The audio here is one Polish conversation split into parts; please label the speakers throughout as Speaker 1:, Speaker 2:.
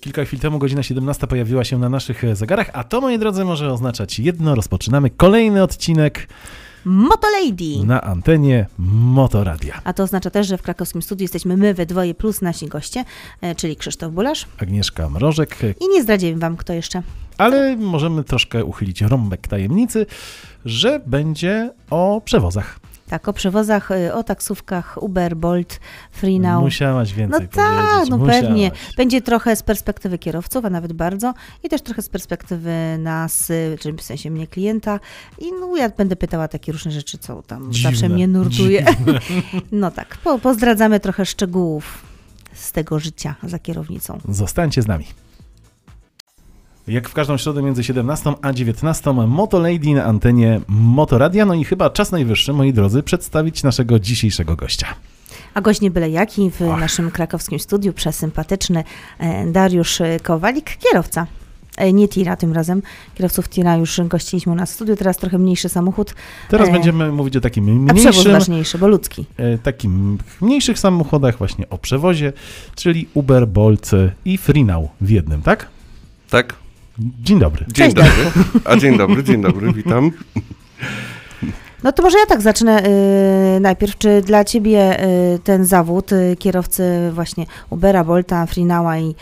Speaker 1: Kilka chwil temu godzina 17 pojawiła się na naszych e, zegarach, a to, moi drodzy, może oznaczać jedno. Rozpoczynamy kolejny odcinek
Speaker 2: Motolady!
Speaker 1: na antenie Motoradia.
Speaker 2: A to oznacza też, że w krakowskim studiu jesteśmy my we dwoje plus nasi goście, e, czyli Krzysztof Bulasz.
Speaker 1: Agnieszka Mrożek, e,
Speaker 2: I nie zdradziłem wam, kto jeszcze.
Speaker 1: ale możemy troszkę uchylić rąbek tajemnicy, że będzie o przewozach.
Speaker 2: Tak, o przewozach, e, o taksówkach, Uber, Bolt, Freenow.
Speaker 1: Musiałaś
Speaker 2: No
Speaker 1: więcej powiedzieć.
Speaker 2: tak, no
Speaker 1: musiałaś.
Speaker 2: pewnie. Będzie trochę z perspektywy kierowców, a nawet bardzo, i też trochę z perspektywy nas, y, czyli w sensie mnie klienta. I no, ja będę pytała takie różne rzeczy, co tam
Speaker 1: Dziwne,
Speaker 2: zawsze mnie nurtuje. No tak, po, pozdradzamy trochę szczegółów z tego życia za kierownicą.
Speaker 1: Zostańcie z nami. Jak w każdą środę między 17 a 19 Motolady na antenie Motoradia. No i chyba czas najwyższy, moi drodzy, przedstawić naszego dzisiejszego gościa.
Speaker 2: A gość nie byle jaki w
Speaker 1: Och.
Speaker 2: naszym krakowskim studiu, przesympatyczny e, Dariusz e, Kowalik, kierowca. E, Nie tira tym razem. Kierowców tira już gościliśmy u nas w studiu, teraz trochę mniejszy samochód,
Speaker 1: Teraz
Speaker 2: E,
Speaker 1: będziemy mówić o takim
Speaker 2: a przewóz
Speaker 1: mniejszym,
Speaker 2: ważniejszy, bo ludzki.
Speaker 1: e, takim mniejszych samochodach, właśnie o przewozie, czyli Uber, Bolt i Freenow w jednym, tak?
Speaker 3: Tak?
Speaker 1: Dzień dobry.
Speaker 3: Dzień
Speaker 2: Cześć,
Speaker 3: dobry. A dzień dobry, dzień dobry, witam.
Speaker 2: No to może ja tak zacznę y, najpierw. Czy dla Ciebie y, ten zawód y, kierowcy właśnie Ubera, Bolta, Freenowa i y,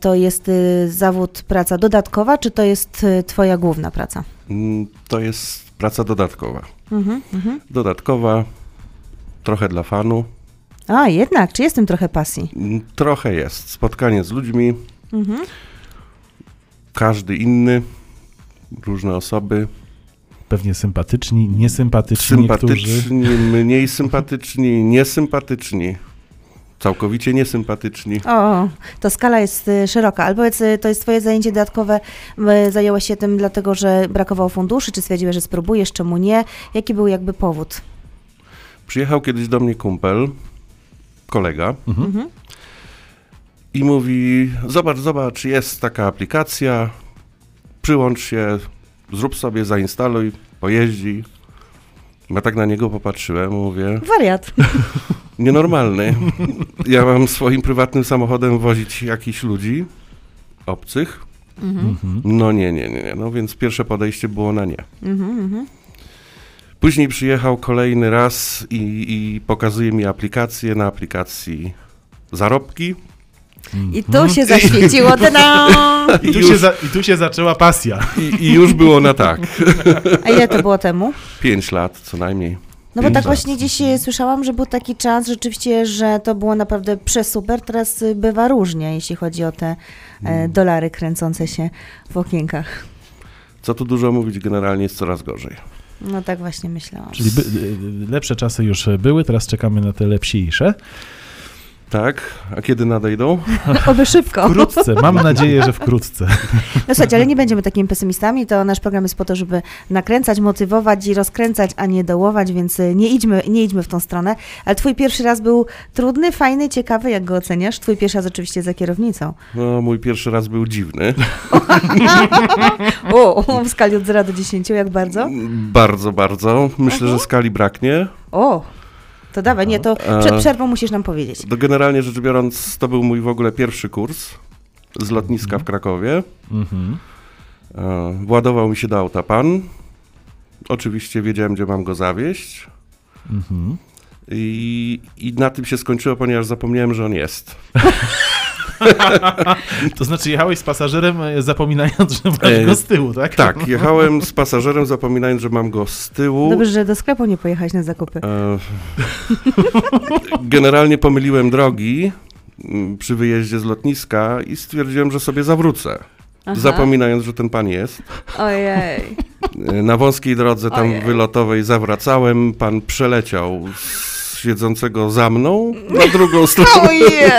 Speaker 2: to jest y, zawód praca dodatkowa, czy to jest y, Twoja główna praca?
Speaker 3: Mm, To jest praca dodatkowa.
Speaker 2: Mhm, mhm.
Speaker 3: Dodatkowa, trochę dla fanu,
Speaker 2: A jednak, czy jest w tym trochę pasji?
Speaker 3: Mm, trochę jest. Spotkanie z ludźmi,
Speaker 2: Mhm.
Speaker 3: każdy inny, różne osoby,
Speaker 1: Pewnie sympatyczni, niesympatyczni niektórzy.
Speaker 3: sympatyczni, mniej sympatyczni, niesympatyczni, całkowicie niesympatyczni.
Speaker 2: O, to skala jest y, szeroka. Ale powiedz, y, to jest Twoje zajęcie dodatkowe, y, zajęłaś się tym dlatego, że brakowało funduszy, czy stwierdziłeś, że spróbujesz, czemu nie? Jaki był jakby powód?
Speaker 3: Przyjechał kiedyś do mnie kumpel, kolega,
Speaker 1: Mhm.
Speaker 2: Mhm.
Speaker 3: i mówi: Zobacz, zobacz, jest taka aplikacja, przyłącz się, zrób sobie, zainstaluj, pojeździ. Ja tak na niego popatrzyłem, mówię:
Speaker 2: Wariat.
Speaker 3: Nienormalny. Ja mam swoim prywatnym samochodem wozić jakichś ludzi obcych.
Speaker 2: Mhm.
Speaker 1: Mhm.
Speaker 3: No nie, nie, nie, nie. No więc pierwsze podejście było na nie.
Speaker 2: Mhm, mhm.
Speaker 3: Później przyjechał kolejny raz i, i pokazuje mi aplikację na aplikacji zarobki.
Speaker 2: I tu się zaświeciło. Ta-dam!
Speaker 1: mhm. I, tu
Speaker 3: już-
Speaker 1: się za, I tu się zaczęła pasja.
Speaker 3: I, I już było na tak.
Speaker 2: A ile to było temu?
Speaker 3: 5 lat co najmniej.
Speaker 2: No bo tak
Speaker 3: Pięć lat.
Speaker 2: właśnie dziś e, słyszałam, że był taki czas rzeczywiście, że to było naprawdę przesuper. Teraz e, bywa różnie, jeśli chodzi o te e, dolary kręcące się w okienkach.
Speaker 3: Co tu dużo mówić, generalnie jest coraz gorzej.
Speaker 2: No tak właśnie myślałam.
Speaker 1: Czyli by, y, lepsze czasy już były, teraz czekamy na te lepsiejsze.
Speaker 3: Tak? A kiedy nadejdą?
Speaker 2: Oby szybko.
Speaker 1: Wkrótce, mam nadzieję, że wkrótce.
Speaker 2: No słuchajcie, ale nie będziemy takimi pesymistami, to nasz program jest po to, żeby nakręcać, motywować i rozkręcać, a nie dołować, więc e, nie idźmy, nie idźmy w tą stronę. Ale twój pierwszy raz był trudny, fajny, ciekawy, jak go oceniasz? Twój pierwszy raz oczywiście za kierownicą.
Speaker 3: No, mój pierwszy raz był dziwny.
Speaker 2: O, w skali od 0 do 10, jak bardzo?
Speaker 3: Bardzo, bardzo. Myślę,
Speaker 2: Mhm.
Speaker 3: że skali braknie.
Speaker 2: O, to dawaj, nie, to przed
Speaker 3: E.
Speaker 2: przerwą musisz nam powiedzieć.
Speaker 3: To generalnie rzecz biorąc, to był mój w ogóle pierwszy kurs z lotniska w Krakowie.
Speaker 1: Mhm.
Speaker 3: E, Władował mi się do auta pan. Oczywiście wiedziałem, gdzie mam go zawieźć.
Speaker 1: Mhm.
Speaker 3: I, I na tym się skończyło, ponieważ zapomniałem, że on jest.
Speaker 1: To znaczy jechałeś z pasażerem, e, zapominając, że masz
Speaker 3: E,
Speaker 1: go z tyłu, tak?
Speaker 3: Tak, jechałem z pasażerem, zapominając, że mam go z tyłu.
Speaker 2: Dobrze, że do sklepu nie pojechałeś na zakupy.
Speaker 3: E, Generalnie pomyliłem drogi mm, przy wyjeździe z lotniska i stwierdziłem, że sobie zawrócę. Zapominając, że ten pan jest.
Speaker 2: Ojej.
Speaker 3: E, Na wąskiej drodze tam
Speaker 2: Ojej.
Speaker 3: wylotowej zawracałem, pan przeleciał z siedzącego za mną na drugą stronę.
Speaker 2: Ojej.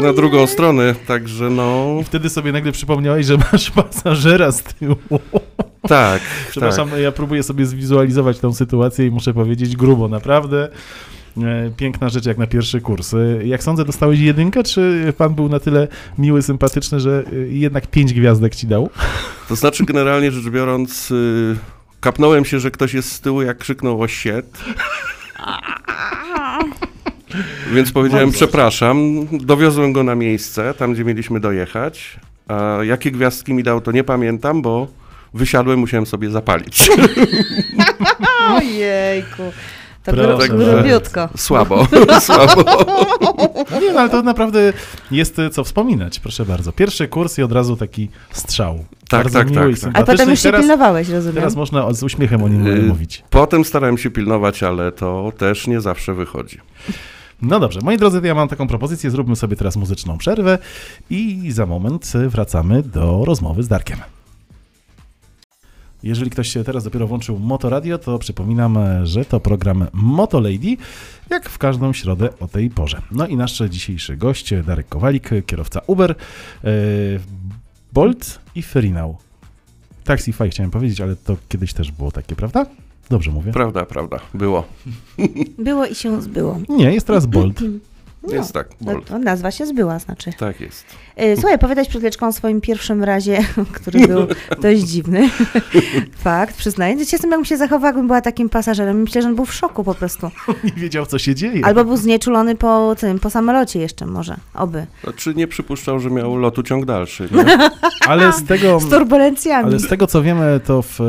Speaker 3: Na drugą stronę, także no.
Speaker 1: I wtedy sobie nagle przypomniałeś, że masz pasażera z tyłu.
Speaker 3: Tak. tak.
Speaker 1: Przepraszam, ja próbuję sobie zwizualizować tą sytuację i muszę powiedzieć grubo, naprawdę. e, Piękna rzecz jak na pierwszy kurs. E, Jak sądzę, dostałeś jedynkę, czy pan był na tyle miły, sympatyczny, że e, jednak pięć gwiazdek ci dał?
Speaker 3: To znaczy, generalnie rzecz biorąc, y, kapnąłem się, że ktoś jest z tyłu, jak krzyknął o shit. Więc powiedziałem,
Speaker 1: Mam coś.
Speaker 3: przepraszam, dowiozłem go na miejsce, tam gdzie mieliśmy dojechać. A jakie gwiazdki mi dał, to nie pamiętam, bo wysiadłem, musiałem sobie zapalić.
Speaker 2: Ojejku. To
Speaker 1: Proszę
Speaker 2: gru,
Speaker 1: bardzo.
Speaker 2: grubiutko.
Speaker 3: Słabo, słabo.
Speaker 1: Nie, no ale to naprawdę jest e, co wspominać, proszę bardzo. Pierwszy kurs i od razu taki strzał.
Speaker 3: Tak,
Speaker 1: bardzo
Speaker 3: tak,
Speaker 1: miły
Speaker 3: tak,
Speaker 1: no i
Speaker 3: tak.
Speaker 2: A
Speaker 1: sympatyczny.
Speaker 2: potem już się
Speaker 1: teraz,
Speaker 2: pilnowałeś, rozumiem?
Speaker 1: teraz można o- z uśmiechem o nim
Speaker 3: Yy.
Speaker 1: mówić.
Speaker 3: Potem starałem się pilnować, ale to też nie zawsze wychodzi.
Speaker 1: No dobrze, moi drodzy, to ja mam taką propozycję. Zróbmy sobie teraz muzyczną przerwę i za moment e, wracamy do rozmowy z Darkiem. Jeżeli ktoś się teraz dopiero włączył Motoradio, to przypominam, e, że to program Moto Lady, jak w każdą środę o tej porze. No i nasz dzisiejszy gość, e, Darek Kowalik, e, kierowca Uber, e, Bolt i Ferinał. Taxify chciałem powiedzieć, ale to kiedyś też było takie, prawda? Dobrze mówię.
Speaker 3: Prawda, prawda, było.
Speaker 2: Było i się zbyło.
Speaker 1: Nie, jest teraz Bolt.
Speaker 2: No,
Speaker 3: Jest tak, Bolt.
Speaker 2: to nazwa się zbyła, znaczy.
Speaker 3: Tak jest.
Speaker 2: E, Słuchaj, opowiadać przed Leczką o swoim pierwszym razie, który był dość dziwny. Fakt, przyznaję. Dziś jestem, jakbym się zachowała, jakbym była takim pasażerem. Myślę, że on był w szoku po prostu.
Speaker 1: Nie wiedział, co się dzieje.
Speaker 2: Albo był znieczulony po tym, po samolocie jeszcze może, oby.
Speaker 3: Znaczy nie przypuszczał, że miał lotu ciąg dalszy. Nie?
Speaker 1: Ale z tego,
Speaker 2: Z turbulencjami.
Speaker 1: ale z tego co wiemy, to w, e,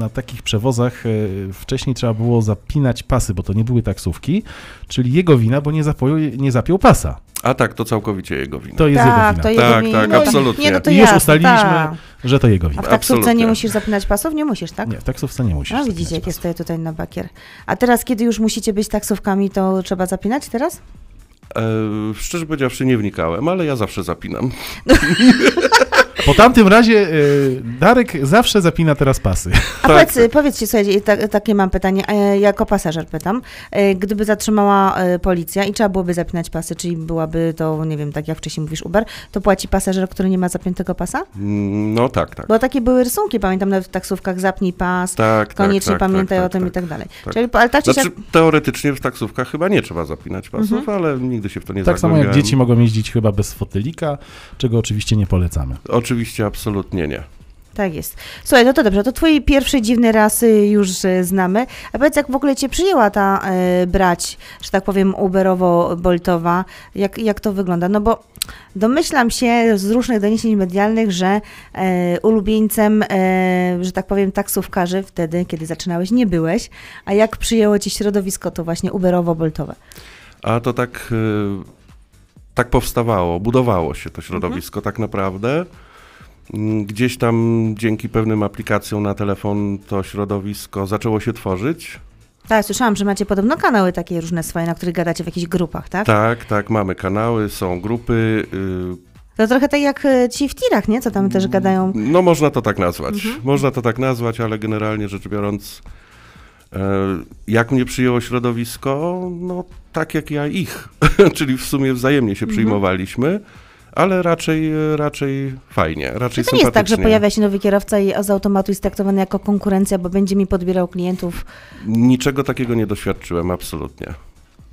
Speaker 1: na takich przewozach e, wcześniej trzeba było zapinać pasy, bo to nie były taksówki, czyli jego wina, bo nie, zapoił, nie zapiął pasa.
Speaker 3: A tak, to całkowicie jego wina.
Speaker 1: To jest
Speaker 2: tak,
Speaker 1: jego
Speaker 2: to
Speaker 1: wina.
Speaker 2: jego
Speaker 3: Tak,
Speaker 2: wina.
Speaker 3: tak,
Speaker 2: No,
Speaker 3: absolutnie.
Speaker 2: Nie, no to
Speaker 1: I już
Speaker 2: jasne,
Speaker 1: ustaliliśmy,
Speaker 2: tak.
Speaker 1: że to jego
Speaker 2: A
Speaker 1: wina.
Speaker 2: w taksówce nie
Speaker 3: absolutnie.
Speaker 2: musisz zapinać pasów? Nie musisz, tak?
Speaker 1: Nie, w taksówce nie musisz.
Speaker 2: A
Speaker 1: zapinać
Speaker 2: widzicie, jak ja
Speaker 1: pasów.
Speaker 2: stoję tutaj na bakier. A teraz, kiedy już musicie być taksówkami, to trzeba zapinać teraz?
Speaker 3: E, szczerze powiedziawszy, nie wnikałem, ale ja zawsze zapinam.
Speaker 1: Po tamtym razie e, Darek zawsze zapina teraz pasy.
Speaker 2: A
Speaker 3: Tak.
Speaker 2: powiedz, powiedzcie, słuchajcie, ta, takie mam pytanie, e, jako pasażer pytam. E, Gdyby zatrzymała e, policja i trzeba byłoby zapinać pasy, czyli byłaby to, nie wiem, tak jak wcześniej mówisz, Uber, to płaci pasażer, który nie ma zapiętego pasa?
Speaker 3: Mm, No tak, tak.
Speaker 2: Bo takie były rysunki, pamiętam, nawet w taksówkach zapnij pas,
Speaker 3: Tak,
Speaker 2: koniecznie
Speaker 3: tak, tak,
Speaker 2: pamiętaj
Speaker 3: tak,
Speaker 2: o tym
Speaker 3: tak,
Speaker 2: i tak dalej.
Speaker 3: tak.
Speaker 2: Czyli, ale tak czy
Speaker 3: Znaczy,
Speaker 2: siak-
Speaker 3: teoretycznie w taksówkach chyba nie trzeba zapinać pasów,
Speaker 2: Mhm.
Speaker 3: ale nigdy się w to nie
Speaker 1: Tak samo jak
Speaker 3: zagłębiałem.
Speaker 1: dzieci mogą jeździć chyba bez fotylika, czego oczywiście nie polecamy.
Speaker 3: Oczywiście, absolutnie nie.
Speaker 2: Tak jest. Słuchaj, no to dobrze, to twój pierwszy dziwny raz y, już y, znamy. A powiedz, jak w ogóle cię przyjęła ta y, brać, że tak powiem, uberowo-boltowa? Jak, jak to wygląda? No bo domyślam się z różnych doniesień medialnych, że y, ulubieńcem, y, że tak powiem, taksówkarzy wtedy, kiedy zaczynałeś, nie byłeś. A jak przyjęło cię środowisko to właśnie uberowo-boltowe?
Speaker 3: A to tak, y, tak powstawało, budowało się to
Speaker 2: Mhm.
Speaker 3: środowisko tak naprawdę. Mm, Gdzieś tam dzięki pewnym aplikacjom na telefon to środowisko zaczęło się tworzyć.
Speaker 2: Tak, słyszałam, że macie podobno kanały takie różne swoje, na których gadacie w jakichś grupach, tak?
Speaker 3: Tak, tak, mamy kanały, są grupy. y,
Speaker 2: To trochę tak jak y, ci w tirach, nie? Co tam też gadają.
Speaker 3: No można to tak nazwać.
Speaker 2: Mhm.
Speaker 3: Można to tak nazwać, ale generalnie rzecz biorąc, e, jak mnie przyjęło środowisko, no tak jak ja ich, czyli w sumie wzajemnie
Speaker 2: Mhm.
Speaker 3: się przyjmowaliśmy, ale raczej, raczej fajnie, raczej
Speaker 2: Czy to nie jest tak, że
Speaker 3: sympatycznie.
Speaker 2: pojawia się nowy kierowca i z automatu jest traktowany jako konkurencja, bo będzie mi podbierał klientów?
Speaker 3: Niczego takiego nie doświadczyłem, absolutnie.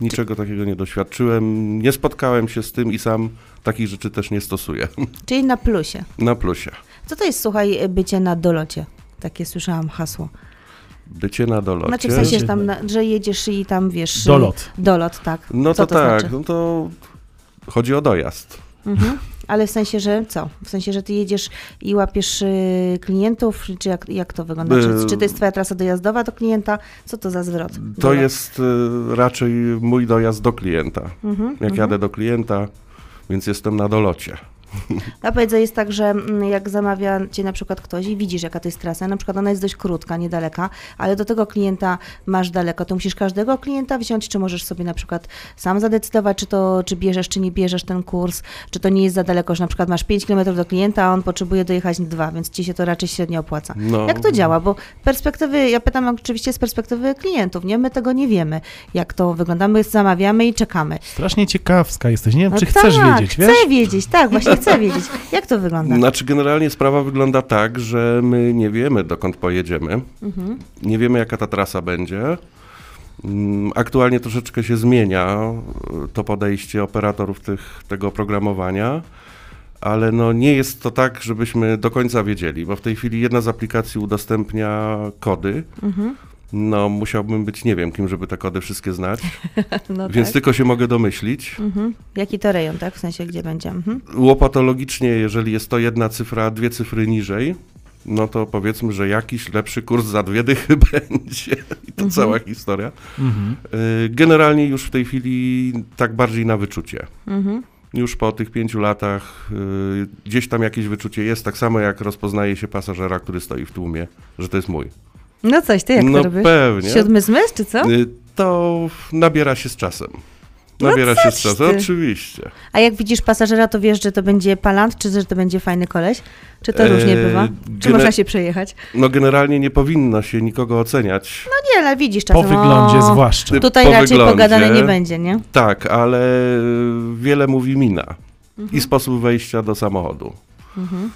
Speaker 3: Niczego takiego nie doświadczyłem, nie spotkałem się z tym i sam takich rzeczy też nie stosuję.
Speaker 2: Czyli na plusie.
Speaker 3: Na plusie.
Speaker 2: Co to jest, słuchaj, bycie na dolocie? Takie słyszałam hasło.
Speaker 3: Bycie na dolocie.
Speaker 2: Znaczy w sensie, że, tam, na- że jedziesz i tam, wiesz...
Speaker 1: Dolot.
Speaker 2: Dolot, tak.
Speaker 3: No
Speaker 2: Co
Speaker 3: to, tak,
Speaker 2: Znaczy?
Speaker 3: no to chodzi o dojazd.
Speaker 2: Mhm. Ale w sensie, że co? W sensie, że ty jedziesz i łapiesz y, klientów, czy jak, jak to wygląda? Czy,
Speaker 3: Yy.
Speaker 2: czy to jest twoja trasa dojazdowa do klienta? Co to za zwrot?
Speaker 3: To
Speaker 2: Dolot.
Speaker 3: jest y, raczej mój dojazd do klienta.
Speaker 2: Mhm,
Speaker 3: Jak jadę do klienta, więc jestem na dolocie.
Speaker 2: A powiedz, że jest tak, że mm, jak zamawia cię na przykład ktoś i widzisz, jaka to jest trasa, na przykład ona jest dość krótka, niedaleka, ale do tego klienta masz daleko, to musisz każdego klienta wziąć, czy możesz sobie na przykład sam zadecydować, czy to, czy bierzesz, czy nie bierzesz ten kurs, czy to nie jest za daleko, że na przykład masz 5 km do klienta, a on potrzebuje dojechać dwa, więc ci się to raczej średnio opłaca.
Speaker 3: No.
Speaker 2: Jak to działa? Bo perspektywy, ja pytam oczywiście z perspektywy klientów, nie? My tego nie wiemy, jak to wygląda. My zamawiamy i czekamy.
Speaker 1: Strasznie ciekawska jesteś, nie wiem, czy
Speaker 2: No
Speaker 1: chcesz
Speaker 2: tak,
Speaker 1: wiedzieć,
Speaker 2: chcę
Speaker 1: wiesz?
Speaker 2: wiedzieć, tak, właśnie chcę wiedzieć. Jak to wygląda?
Speaker 3: Znaczy, generalnie sprawa wygląda tak, że my nie wiemy, dokąd pojedziemy.
Speaker 2: Mhm.
Speaker 3: Nie wiemy, jaka ta trasa będzie. Mm, Aktualnie troszeczkę się zmienia y, to podejście operatorów tych, tego oprogramowania, ale no nie jest to tak,
Speaker 2: Mhm.
Speaker 3: żebyśmy do końca wiedzieli, bo w tej chwili jedna z aplikacji udostępnia kody, No, musiałbym być nie wiem kim, żeby te kody wszystkie znać,
Speaker 2: No
Speaker 3: więc
Speaker 2: tak.
Speaker 3: tylko się mogę domyślić.
Speaker 2: Mhm. Jaki to rejon, tak? W sensie, gdzie będzie? Mhm.
Speaker 3: Łopatologicznie, jeżeli jest to jedna cyfra, a dwie cyfry niżej, no to powiedzmy, że jakiś lepszy kurs za dwie dychy będzie i to
Speaker 2: Mhm.
Speaker 3: cała historia.
Speaker 1: Mhm.
Speaker 3: Yy, Generalnie już w tej chwili tak bardziej na wyczucie.
Speaker 2: Mhm.
Speaker 3: Już po tych pięciu latach yy, gdzieś tam jakieś wyczucie jest, tak samo jak rozpoznaje się pasażera, który stoi w tłumie, że to jest mój.
Speaker 2: No coś, ty jak
Speaker 3: no
Speaker 2: to robisz?
Speaker 3: pewnie.
Speaker 2: Siódmy zmysł, czy co?
Speaker 3: Y, To nabiera się z czasem.
Speaker 2: No
Speaker 3: Nabiera się z
Speaker 2: coś
Speaker 3: czasem,
Speaker 2: ty.
Speaker 3: oczywiście.
Speaker 2: A jak widzisz pasażera, to wiesz, że to będzie palant, czy że to będzie fajny koleś? Czy to
Speaker 3: Eee,
Speaker 2: różnie bywa? Czy
Speaker 3: gener-
Speaker 2: można się przejechać?
Speaker 3: No generalnie nie powinno się nikogo oceniać.
Speaker 2: No nie, ale widzisz
Speaker 1: Po
Speaker 2: czasem.
Speaker 1: wyglądzie
Speaker 2: o,
Speaker 1: zwłaszcza.
Speaker 3: Ty-
Speaker 2: Tutaj
Speaker 3: Po
Speaker 2: raczej
Speaker 3: wyglądzie.
Speaker 2: pogadane nie będzie, nie?
Speaker 3: Tak, ale y, wiele mówi mina i sposób wejścia do samochodu.
Speaker 2: Mhm.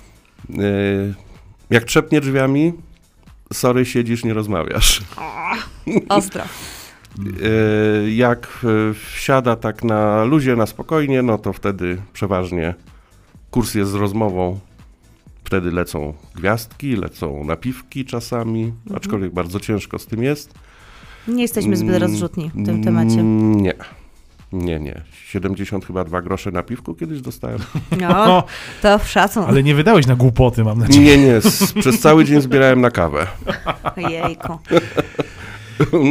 Speaker 3: Y, Jak trzepnie drzwiami, sorry, siedzisz, nie rozmawiasz.
Speaker 2: Ostro. Mhm.
Speaker 3: Y, Jak y, wsiada tak na luzie, na spokojnie, no to wtedy przeważnie kurs jest z rozmową. Wtedy lecą gwiazdki, lecą napiwki czasami, aczkolwiek bardzo ciężko z tym jest.
Speaker 2: Nie Mhm. jesteśmy zbyt
Speaker 3: Mm,
Speaker 2: rozrzutni w tym temacie.
Speaker 3: mm, Nie. Nie, nie. 70 chyba 2 grosze na piwku kiedyś dostałem.
Speaker 2: No,
Speaker 1: O,
Speaker 2: to w szacun.
Speaker 1: ale nie wydałeś na głupoty, mam nadzieję.
Speaker 3: Nie, nie. S- przez cały dzień zbierałem na kawę.
Speaker 2: Jejku.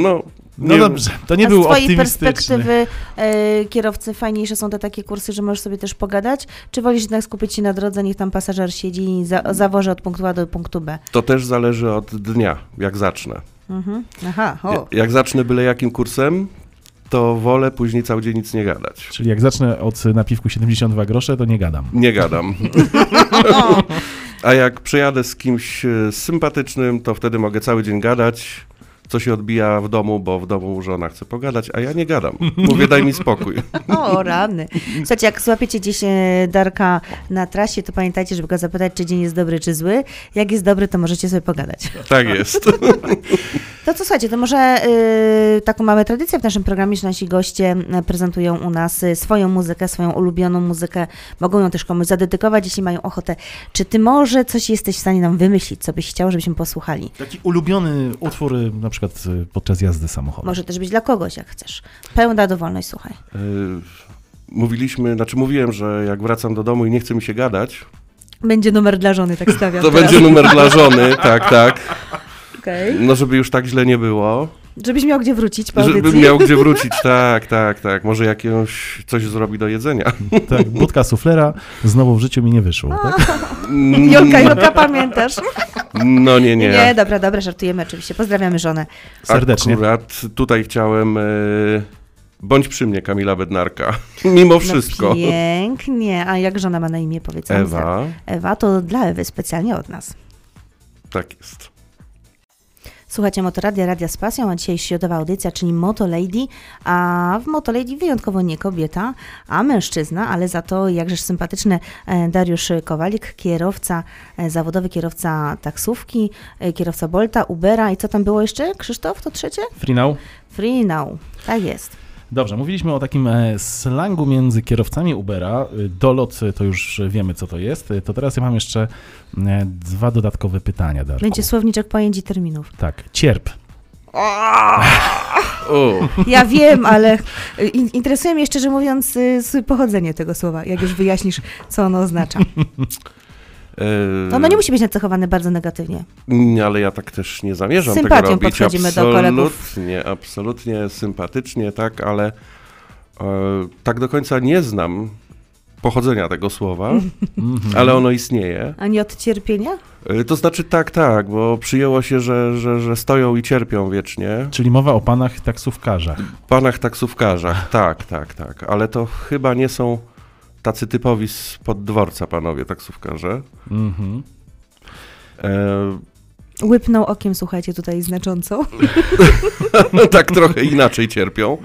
Speaker 3: No,
Speaker 1: No
Speaker 3: nie-
Speaker 1: dobrze, to nie
Speaker 2: A
Speaker 1: był
Speaker 2: z twojej
Speaker 1: optymistyczny.
Speaker 2: perspektywy e, kierowcy fajniejsze są te takie kursy, że możesz sobie też pogadać? Czy wolisz jednak skupić się na drodze, niech tam pasażer siedzi i za, zawoży od punktu A do punktu B?
Speaker 3: To też zależy od dnia, jak zacznę.
Speaker 2: Mhm. Aha,
Speaker 3: Ja-
Speaker 2: o.
Speaker 3: Jak zacznę byle jakim kursem, to wolę później cały dzień nic nie gadać.
Speaker 1: Czyli jak zacznę od napiwku 72 grosze, to nie gadam.
Speaker 3: Nie gadam. A jak przyjadę z kimś e, sympatycznym, to wtedy mogę cały dzień gadać, co się odbija w domu, bo w domu żona chce pogadać, a ja nie gadam. Mówię, daj mi spokój.
Speaker 2: O, rany. Słuchajcie, jak złapiecie gdzieś e, Darka na trasie, to pamiętajcie, żeby go zapytać, czy dzień jest dobry, czy zły. Jak jest dobry, to możecie sobie pogadać.
Speaker 3: Tak jest.
Speaker 2: To co, słuchajcie, to może y, taką mamy tradycję w naszym programie, że nasi goście y, prezentują u nas y, swoją muzykę, swoją ulubioną muzykę. Mogą ją też komuś zadedykować, jeśli mają ochotę. Czy ty może coś jesteś w stanie nam wymyślić, co byś chciał, żebyśmy posłuchali?
Speaker 1: Taki ulubiony utwór, y, na przykład y, podczas jazdy samochodem.
Speaker 2: Może też być dla kogoś, jak chcesz. Pełna dowolność, słuchaj.
Speaker 3: Y, Mówiliśmy, znaczy mówiłem, że jak wracam do domu i nie chce mi się gadać,
Speaker 2: Będzie numer dla żony, tak stawiam
Speaker 3: to
Speaker 2: teraz.
Speaker 3: będzie numer dla żony, tak, tak.
Speaker 2: Okej.
Speaker 3: No żeby już tak źle nie było,
Speaker 2: Żebyś miał gdzie wrócić po audycji.
Speaker 3: żebym miał gdzie wrócić, tak, tak, tak. Może jakiegoś coś zrobi do jedzenia.
Speaker 1: Tak, budka suflera znowu w życiu mi nie wyszło. Tak?
Speaker 2: Jolka, Jolka, pamiętasz?
Speaker 3: No nie, nie.
Speaker 2: nie, dobra, dobra, żartujemy oczywiście. Pozdrawiamy żonę.
Speaker 1: Serdecznie.
Speaker 3: Akurat tutaj chciałem. y, Bądź przy mnie, Kamila Bednarka. Mimo wszystko.
Speaker 2: No pięknie. A jak żona ma na imię, powiedz nam, Zdrad.
Speaker 3: Ewa,
Speaker 2: Ewa to dla Ewy specjalnie od nas.
Speaker 3: tak jest.
Speaker 2: Słuchajcie Motoradia, Radia z Pasją, a dzisiaj środowa audycja, czyli Moto Lady, a w Moto Lady wyjątkowo nie kobieta, a mężczyzna, ale za to jakżeż sympatyczny e, Dariusz Kowalik, kierowca, e, zawodowy kierowca taksówki, e, kierowca Bolta, Ubera i co tam było jeszcze, Krzysztof, to trzecie?
Speaker 1: Free now.
Speaker 2: Free now, tak jest.
Speaker 1: Dobrze, mówiliśmy o takim e, slangu między kierowcami Ubera. Y, Dolot y, to już wiemy, co to jest. Y, To teraz ja mam jeszcze e, dwa dodatkowe pytania, Darku.
Speaker 2: Będzie słowniczek pojęć i terminów.
Speaker 1: Tak, cierp.
Speaker 3: O,
Speaker 2: Ja wiem, ale e, in- interesuje mnie szczerze mówiąc e, s- pochodzenie tego słowa, jak już wyjaśnisz, co ono oznacza.
Speaker 3: y,
Speaker 2: Ono No, nie musi być nacechowane bardzo negatywnie.
Speaker 3: nie, ale ja tak też nie zamierzam
Speaker 2: Z sympatią
Speaker 3: tego robić.
Speaker 2: podchodzimy do kolegów.
Speaker 3: Absolutnie, absolutnie sympatycznie, tak, ale e, tak do końca nie znam pochodzenia tego słowa,
Speaker 1: Mhm.
Speaker 3: ale ono istnieje.
Speaker 2: A nie od cierpienia?
Speaker 3: Y, To znaczy tak, tak, bo przyjęło się, że, że, że stoją i cierpią wiecznie.
Speaker 1: Czyli mowa o panach taksówkarzach.
Speaker 3: Panach taksówkarzach, tak, tak, tak. Ale to chyba nie są tacy typowi z poddworca panowie taksówkarze.
Speaker 1: Mhm.
Speaker 3: E,
Speaker 2: Łypnął okiem, słuchajcie, tutaj znacząco.
Speaker 3: tak trochę inaczej cierpią.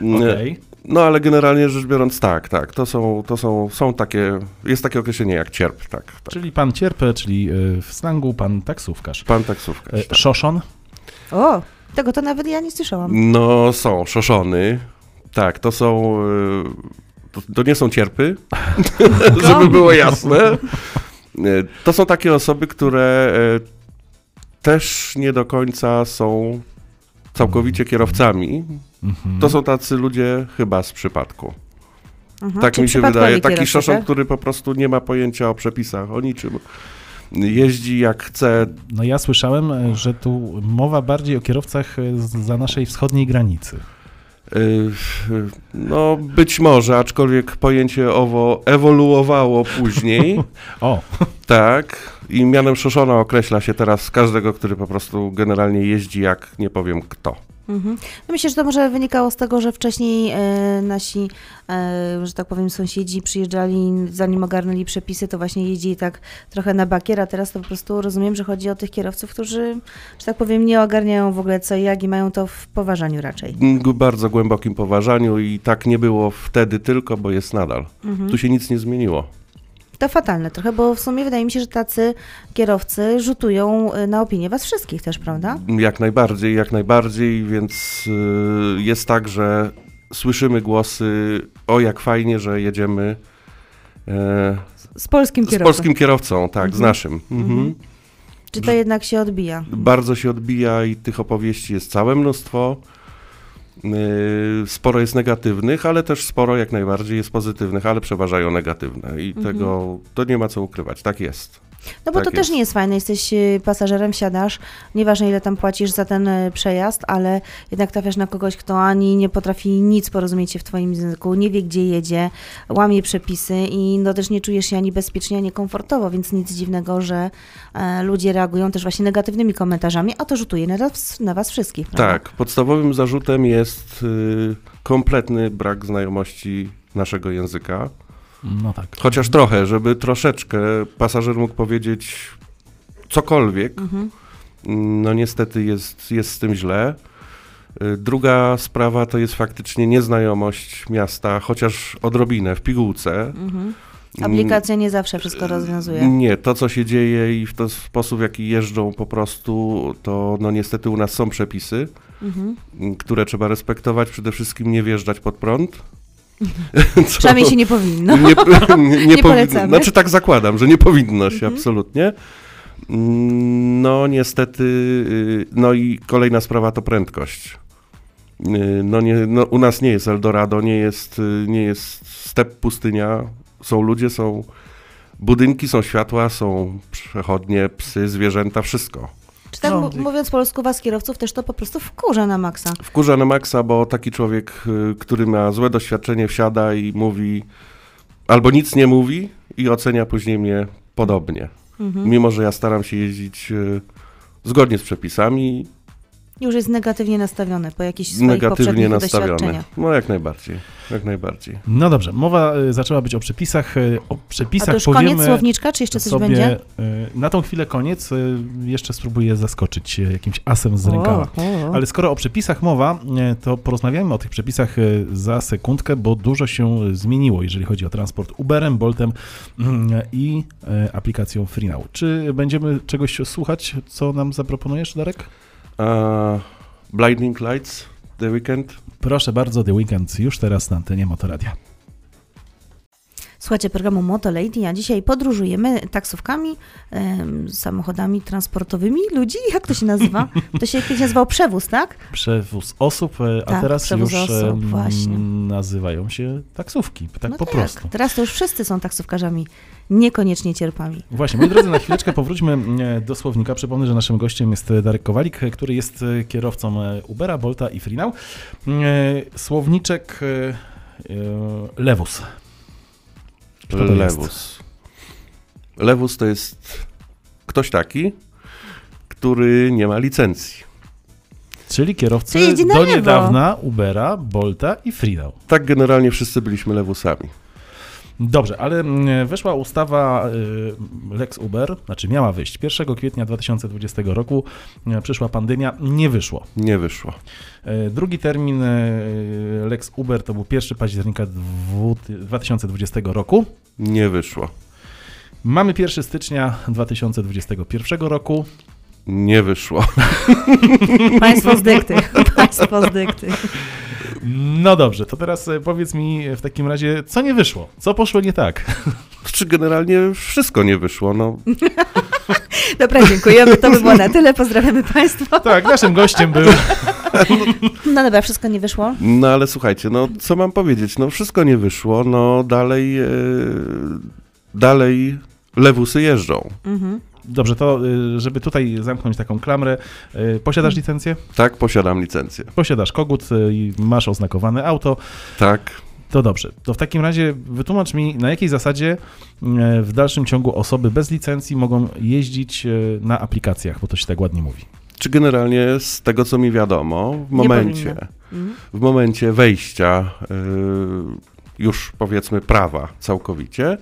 Speaker 3: E,
Speaker 1: Okej.
Speaker 3: No ale generalnie rzecz biorąc, tak, tak. To są, to są, są takie, jest takie określenie jak cierp, tak. tak.
Speaker 1: Czyli pan cierp, czyli y, w slangu pan taksówkarz.
Speaker 3: Pan
Speaker 1: E,
Speaker 3: taksówkarz. Tak.
Speaker 1: Szoszon?
Speaker 2: O, tego to nawet ja nie słyszałam.
Speaker 3: No są, szoszony. Tak, to są, e, to, to nie są cierpy, żeby było jasne. E, To są takie osoby, które e, też nie do końca są całkowicie kierowcami,
Speaker 1: Mhm.
Speaker 3: to są tacy ludzie chyba z przypadku.
Speaker 2: Mhm,
Speaker 3: Tak
Speaker 2: czyli
Speaker 3: mi się
Speaker 2: przypadkowi
Speaker 3: wydaje. Taki
Speaker 2: kierowcy,
Speaker 3: szoszon,
Speaker 2: tak?
Speaker 3: który po prostu nie ma pojęcia o przepisach, o niczym. Jeździ jak chce.
Speaker 1: No ja słyszałem, e, że tu mowa bardziej o kierowcach e, z- za naszej wschodniej granicy.
Speaker 3: Yy, No, być może, aczkolwiek pojęcie owo ewoluowało później.
Speaker 1: O,
Speaker 3: tak. I mianem szoszona określa się teraz każdego, który po prostu generalnie jeździ jak nie powiem kto.
Speaker 2: Mhm. No myślę, że to może wynikało z tego, że wcześniej e, nasi, e, że tak powiem, sąsiedzi przyjeżdżali, zanim ogarnęli przepisy, to właśnie jeździli tak trochę na bakier, a teraz to po prostu rozumiem, że chodzi o tych kierowców, którzy, że tak powiem, nie ogarniają w ogóle co i jak i mają to w poważaniu raczej.
Speaker 3: G- Bardzo głębokim poważaniu i tak nie było wtedy tylko, bo jest nadal.
Speaker 2: Mhm.
Speaker 3: Tu się nic nie zmieniło.
Speaker 2: To fatalne trochę, bo w sumie wydaje mi się, że tacy kierowcy rzutują e, na opinię was wszystkich też, prawda?
Speaker 3: Jak najbardziej, jak najbardziej, więc y, jest tak, że słyszymy głosy o jak fajnie, że jedziemy e,
Speaker 2: Z polskim
Speaker 3: z
Speaker 2: kierowcą.
Speaker 3: polskim kierowcą, tak, z
Speaker 2: Mhm.
Speaker 3: naszym. Mhm.
Speaker 2: Mhm. Czy to jednak się odbija?
Speaker 3: Bardzo się odbija i tych opowieści jest całe mnóstwo. Y, Sporo jest negatywnych, ale też sporo jak najbardziej jest pozytywnych, ale przeważają negatywne i tego to nie ma co ukrywać, tak jest.
Speaker 2: No bo
Speaker 3: Tak
Speaker 2: to
Speaker 3: jest.
Speaker 2: też nie jest fajne, jesteś y, pasażerem, siadasz, nieważne ile tam płacisz za ten y, przejazd, ale jednak trafiasz na kogoś, kto ani nie potrafi nic porozumieć się w twoim języku, nie wie gdzie jedzie, łamie przepisy i no też nie czujesz się ani bezpiecznie, ani komfortowo, więc nic dziwnego, że e, ludzie reagują też właśnie negatywnymi komentarzami, a to rzutuje na was, na was wszystkich, prawda?
Speaker 3: Tak, podstawowym zarzutem jest y, kompletny brak znajomości naszego języka.
Speaker 1: no tak.
Speaker 3: Chociaż trochę, żeby troszeczkę pasażer mógł powiedzieć cokolwiek.
Speaker 2: Mhm.
Speaker 3: No niestety jest, jest z tym źle. Y, Druga sprawa to jest faktycznie nieznajomość miasta, chociaż odrobinę w pigułce. Mm, y,
Speaker 2: Mhm. Aplikacja nie zawsze
Speaker 1: Mm.
Speaker 2: wszystko rozwiązuje.
Speaker 3: Nie, to co się dzieje i w ten sposób, w jaki jeżdżą po prostu, to no niestety u nas są przepisy,
Speaker 2: Mhm.
Speaker 3: m, które trzeba respektować. Przede wszystkim nie wjeżdżać pod prąd. Co-
Speaker 2: Przynajmniej się nie powinno.
Speaker 3: Nie, nie,
Speaker 2: No. Nie polecamy.
Speaker 3: nie powinno. Znaczy tak zakładam, że nie powinno się absolutnie. Mm, No niestety, y, no i kolejna sprawa to prędkość. Y, No, nie, no u nas nie jest Eldorado, nie jest, y, nie jest step pustynia, są ludzie, są budynki, są światła, są przechodnie, psy, zwierzęta, wszystko.
Speaker 2: Czy tak
Speaker 1: No.
Speaker 2: m- mówiąc polsku, was kierowców też to po prostu wkurza na maksa.
Speaker 3: Wkurza na maksa, bo taki człowiek, y, który ma złe doświadczenie, wsiada i mówi, albo nic nie mówi i ocenia później mnie podobnie.
Speaker 2: Mhm.
Speaker 3: Mimo, że ja staram się jeździć y, zgodnie z przepisami,
Speaker 2: Już jest negatywnie nastawiony po jakichś swoich
Speaker 3: negatywnie
Speaker 2: poprzednich
Speaker 3: nastawiony.
Speaker 2: doświadczeniach.
Speaker 3: No jak najbardziej, jak najbardziej.
Speaker 1: No dobrze, mowa y, zaczęła być o przepisach. y, O
Speaker 2: A to
Speaker 1: przepisach
Speaker 2: już
Speaker 1: powiemy
Speaker 2: koniec słowniczka, czy jeszcze coś
Speaker 1: sobie
Speaker 2: będzie?
Speaker 1: y, na tą chwilę koniec. y, Jeszcze spróbuję zaskoczyć y, jakimś asem z rękawa. Ale skoro o przepisach mowa, e, to porozmawiajmy o tych przepisach e, za sekundkę, bo dużo się e, zmieniło, jeżeli chodzi o transport Uberem, Boltem mm, i e, aplikacją Freenow. Czy będziemy czegoś słuchać, co nam zaproponujesz, Darek?
Speaker 3: A, Blinding Lights, The Weekend.
Speaker 1: Proszę bardzo, The Weekend już teraz na antenie Motoradia.
Speaker 2: Słuchajcie programu Moto Lady, a dzisiaj podróżujemy taksówkami, em, samochodami transportowymi ludzi, jak to się nazywa? To się kiedyś nazywał przewóz, tak?
Speaker 1: Przewóz osób, e, a
Speaker 2: Tak,
Speaker 1: teraz
Speaker 2: przewóz
Speaker 1: już e,
Speaker 2: osób,
Speaker 1: m,
Speaker 2: właśnie.
Speaker 1: nazywają się taksówki, tak
Speaker 2: no
Speaker 1: po
Speaker 2: tak.
Speaker 1: prostu.
Speaker 2: Teraz to już wszyscy są taksówkarzami, niekoniecznie cierpami.
Speaker 1: Właśnie, moi drodzy, na chwileczkę powróćmy e, do słownika. Przypomnę, że naszym gościem jest e, Darek Kowalik, e, który jest e, kierowcą e, Ubera, Bolta i Freenow. E, Słowniczek e, e, lewus. Kto to jest?
Speaker 3: Lewus. Lewus to jest ktoś taki, który nie ma licencji.
Speaker 1: Czyli kierowcy
Speaker 2: Czyli jedzie na
Speaker 1: do
Speaker 2: lewo.
Speaker 1: niedawna Ubera, Bolta i Freenow.
Speaker 3: Tak generalnie wszyscy byliśmy lewusami.
Speaker 1: Dobrze, ale mm, weszła ustawa y, Lex Uber, znaczy miała wyjść 1 kwietnia 2020 roku, e, przyszła pandemia, nie wyszło.
Speaker 3: Nie wyszło.
Speaker 1: E, Drugi termin e, Lex Uber to był 1 października dwu- 2020 roku.
Speaker 3: Nie wyszło.
Speaker 1: Mamy 1 stycznia 2021 roku.
Speaker 3: Nie wyszło.
Speaker 2: Państwo z dykty, państwo z dykty.
Speaker 1: No dobrze, to teraz e, powiedz mi e, w takim razie, co nie
Speaker 3: Znaczy,
Speaker 1: wyszło? Co poszło nie tak?
Speaker 3: Czy generalnie wszystko nie wyszło? No,
Speaker 2: Dobra, dziękujemy. To by było na tyle. Pozdrawiamy Państwa.
Speaker 1: Tak, naszym gościem był.
Speaker 2: No dobra, wszystko nie wyszło.
Speaker 3: No ale słuchajcie, no co mam powiedzieć? No wszystko nie wyszło, no dalej, e, dalej lewusy jeżdżą.
Speaker 2: Mhm.
Speaker 1: Dobrze, to y, żeby tutaj zamknąć taką klamrę, y, posiadasz licencję?
Speaker 3: Tak, posiadam licencję.
Speaker 1: Posiadasz kogut y, i masz oznakowane auto.
Speaker 3: Tak.
Speaker 1: To dobrze. To w takim razie wytłumacz mi, na jakiej zasadzie y, w dalszym ciągu osoby bez licencji mogą jeździć y, na aplikacjach, bo to się tak ładnie mówi.
Speaker 3: Czy generalnie z tego, co mi wiadomo, w
Speaker 2: Nie
Speaker 3: momencie,
Speaker 2: powinno. Mhm.
Speaker 3: w momencie wejścia y, już powiedzmy prawa całkowicie,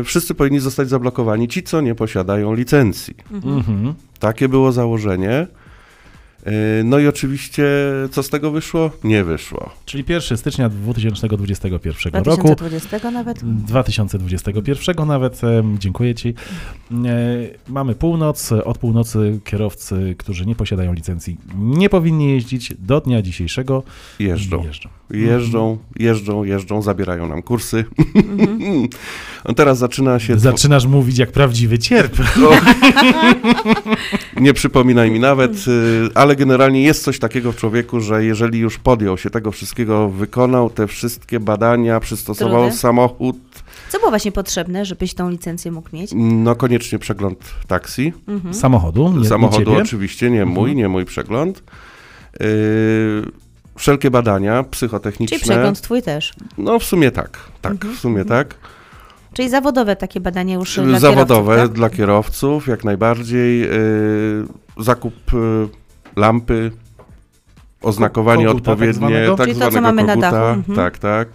Speaker 3: y, wszyscy powinni zostać zablokowani ci, co nie posiadają licencji.
Speaker 2: Mhm.
Speaker 1: Mhm.
Speaker 3: Takie było założenie. Y, No i oczywiście, co z tego wyszło? Nie wyszło.
Speaker 1: Czyli 1 stycznia 2021 roku.
Speaker 2: 2020 nawet.
Speaker 1: 2021 nawet. em, Dziękuję Ci. E, Mamy północ. Od północy kierowcy, którzy nie posiadają licencji, nie powinni jeździć. Do dnia dzisiejszego
Speaker 3: Jeżdżą. Jeżdżą, jeżdżą, jeżdżą, zabierają nam kursy.
Speaker 1: Mhm.
Speaker 3: Teraz zaczyna się.
Speaker 1: Zaczynasz mówić jak prawdziwy cierp.
Speaker 3: Nie przypominaj mi nawet, y, ale generalnie jest coś takiego w człowieku, że jeżeli już podjął się tego wszystkiego, wykonał te wszystkie badania, przystosował
Speaker 2: Trudy.
Speaker 3: samochód,
Speaker 2: Co było właśnie potrzebne, żebyś tą licencję mógł mieć?
Speaker 3: no koniecznie przegląd taksi.
Speaker 2: Mhm.
Speaker 1: Samochodu, nie, nie
Speaker 3: samochodu
Speaker 1: ciebie. Mhm.
Speaker 3: oczywiście, nie mój, nie mój przegląd. Yy, wszelkie badania psychotechniczne.
Speaker 2: Czyli przegląd twój też.
Speaker 3: No w sumie tak, tak,
Speaker 1: Mhm.
Speaker 3: w sumie tak.
Speaker 2: Czyli zawodowe takie badania już dla
Speaker 3: Zawodowe
Speaker 2: kierowców, tak?
Speaker 3: dla kierowców, jak najbardziej. Yy, zakup yy, lampy, oznakowanie
Speaker 1: Koguta tak
Speaker 3: odpowiednie,
Speaker 1: zwanego?
Speaker 3: tak
Speaker 2: Czyli to, co
Speaker 3: zwanego
Speaker 2: mamy na
Speaker 3: koguta.
Speaker 2: dachu, mhm.
Speaker 3: Tak, tak.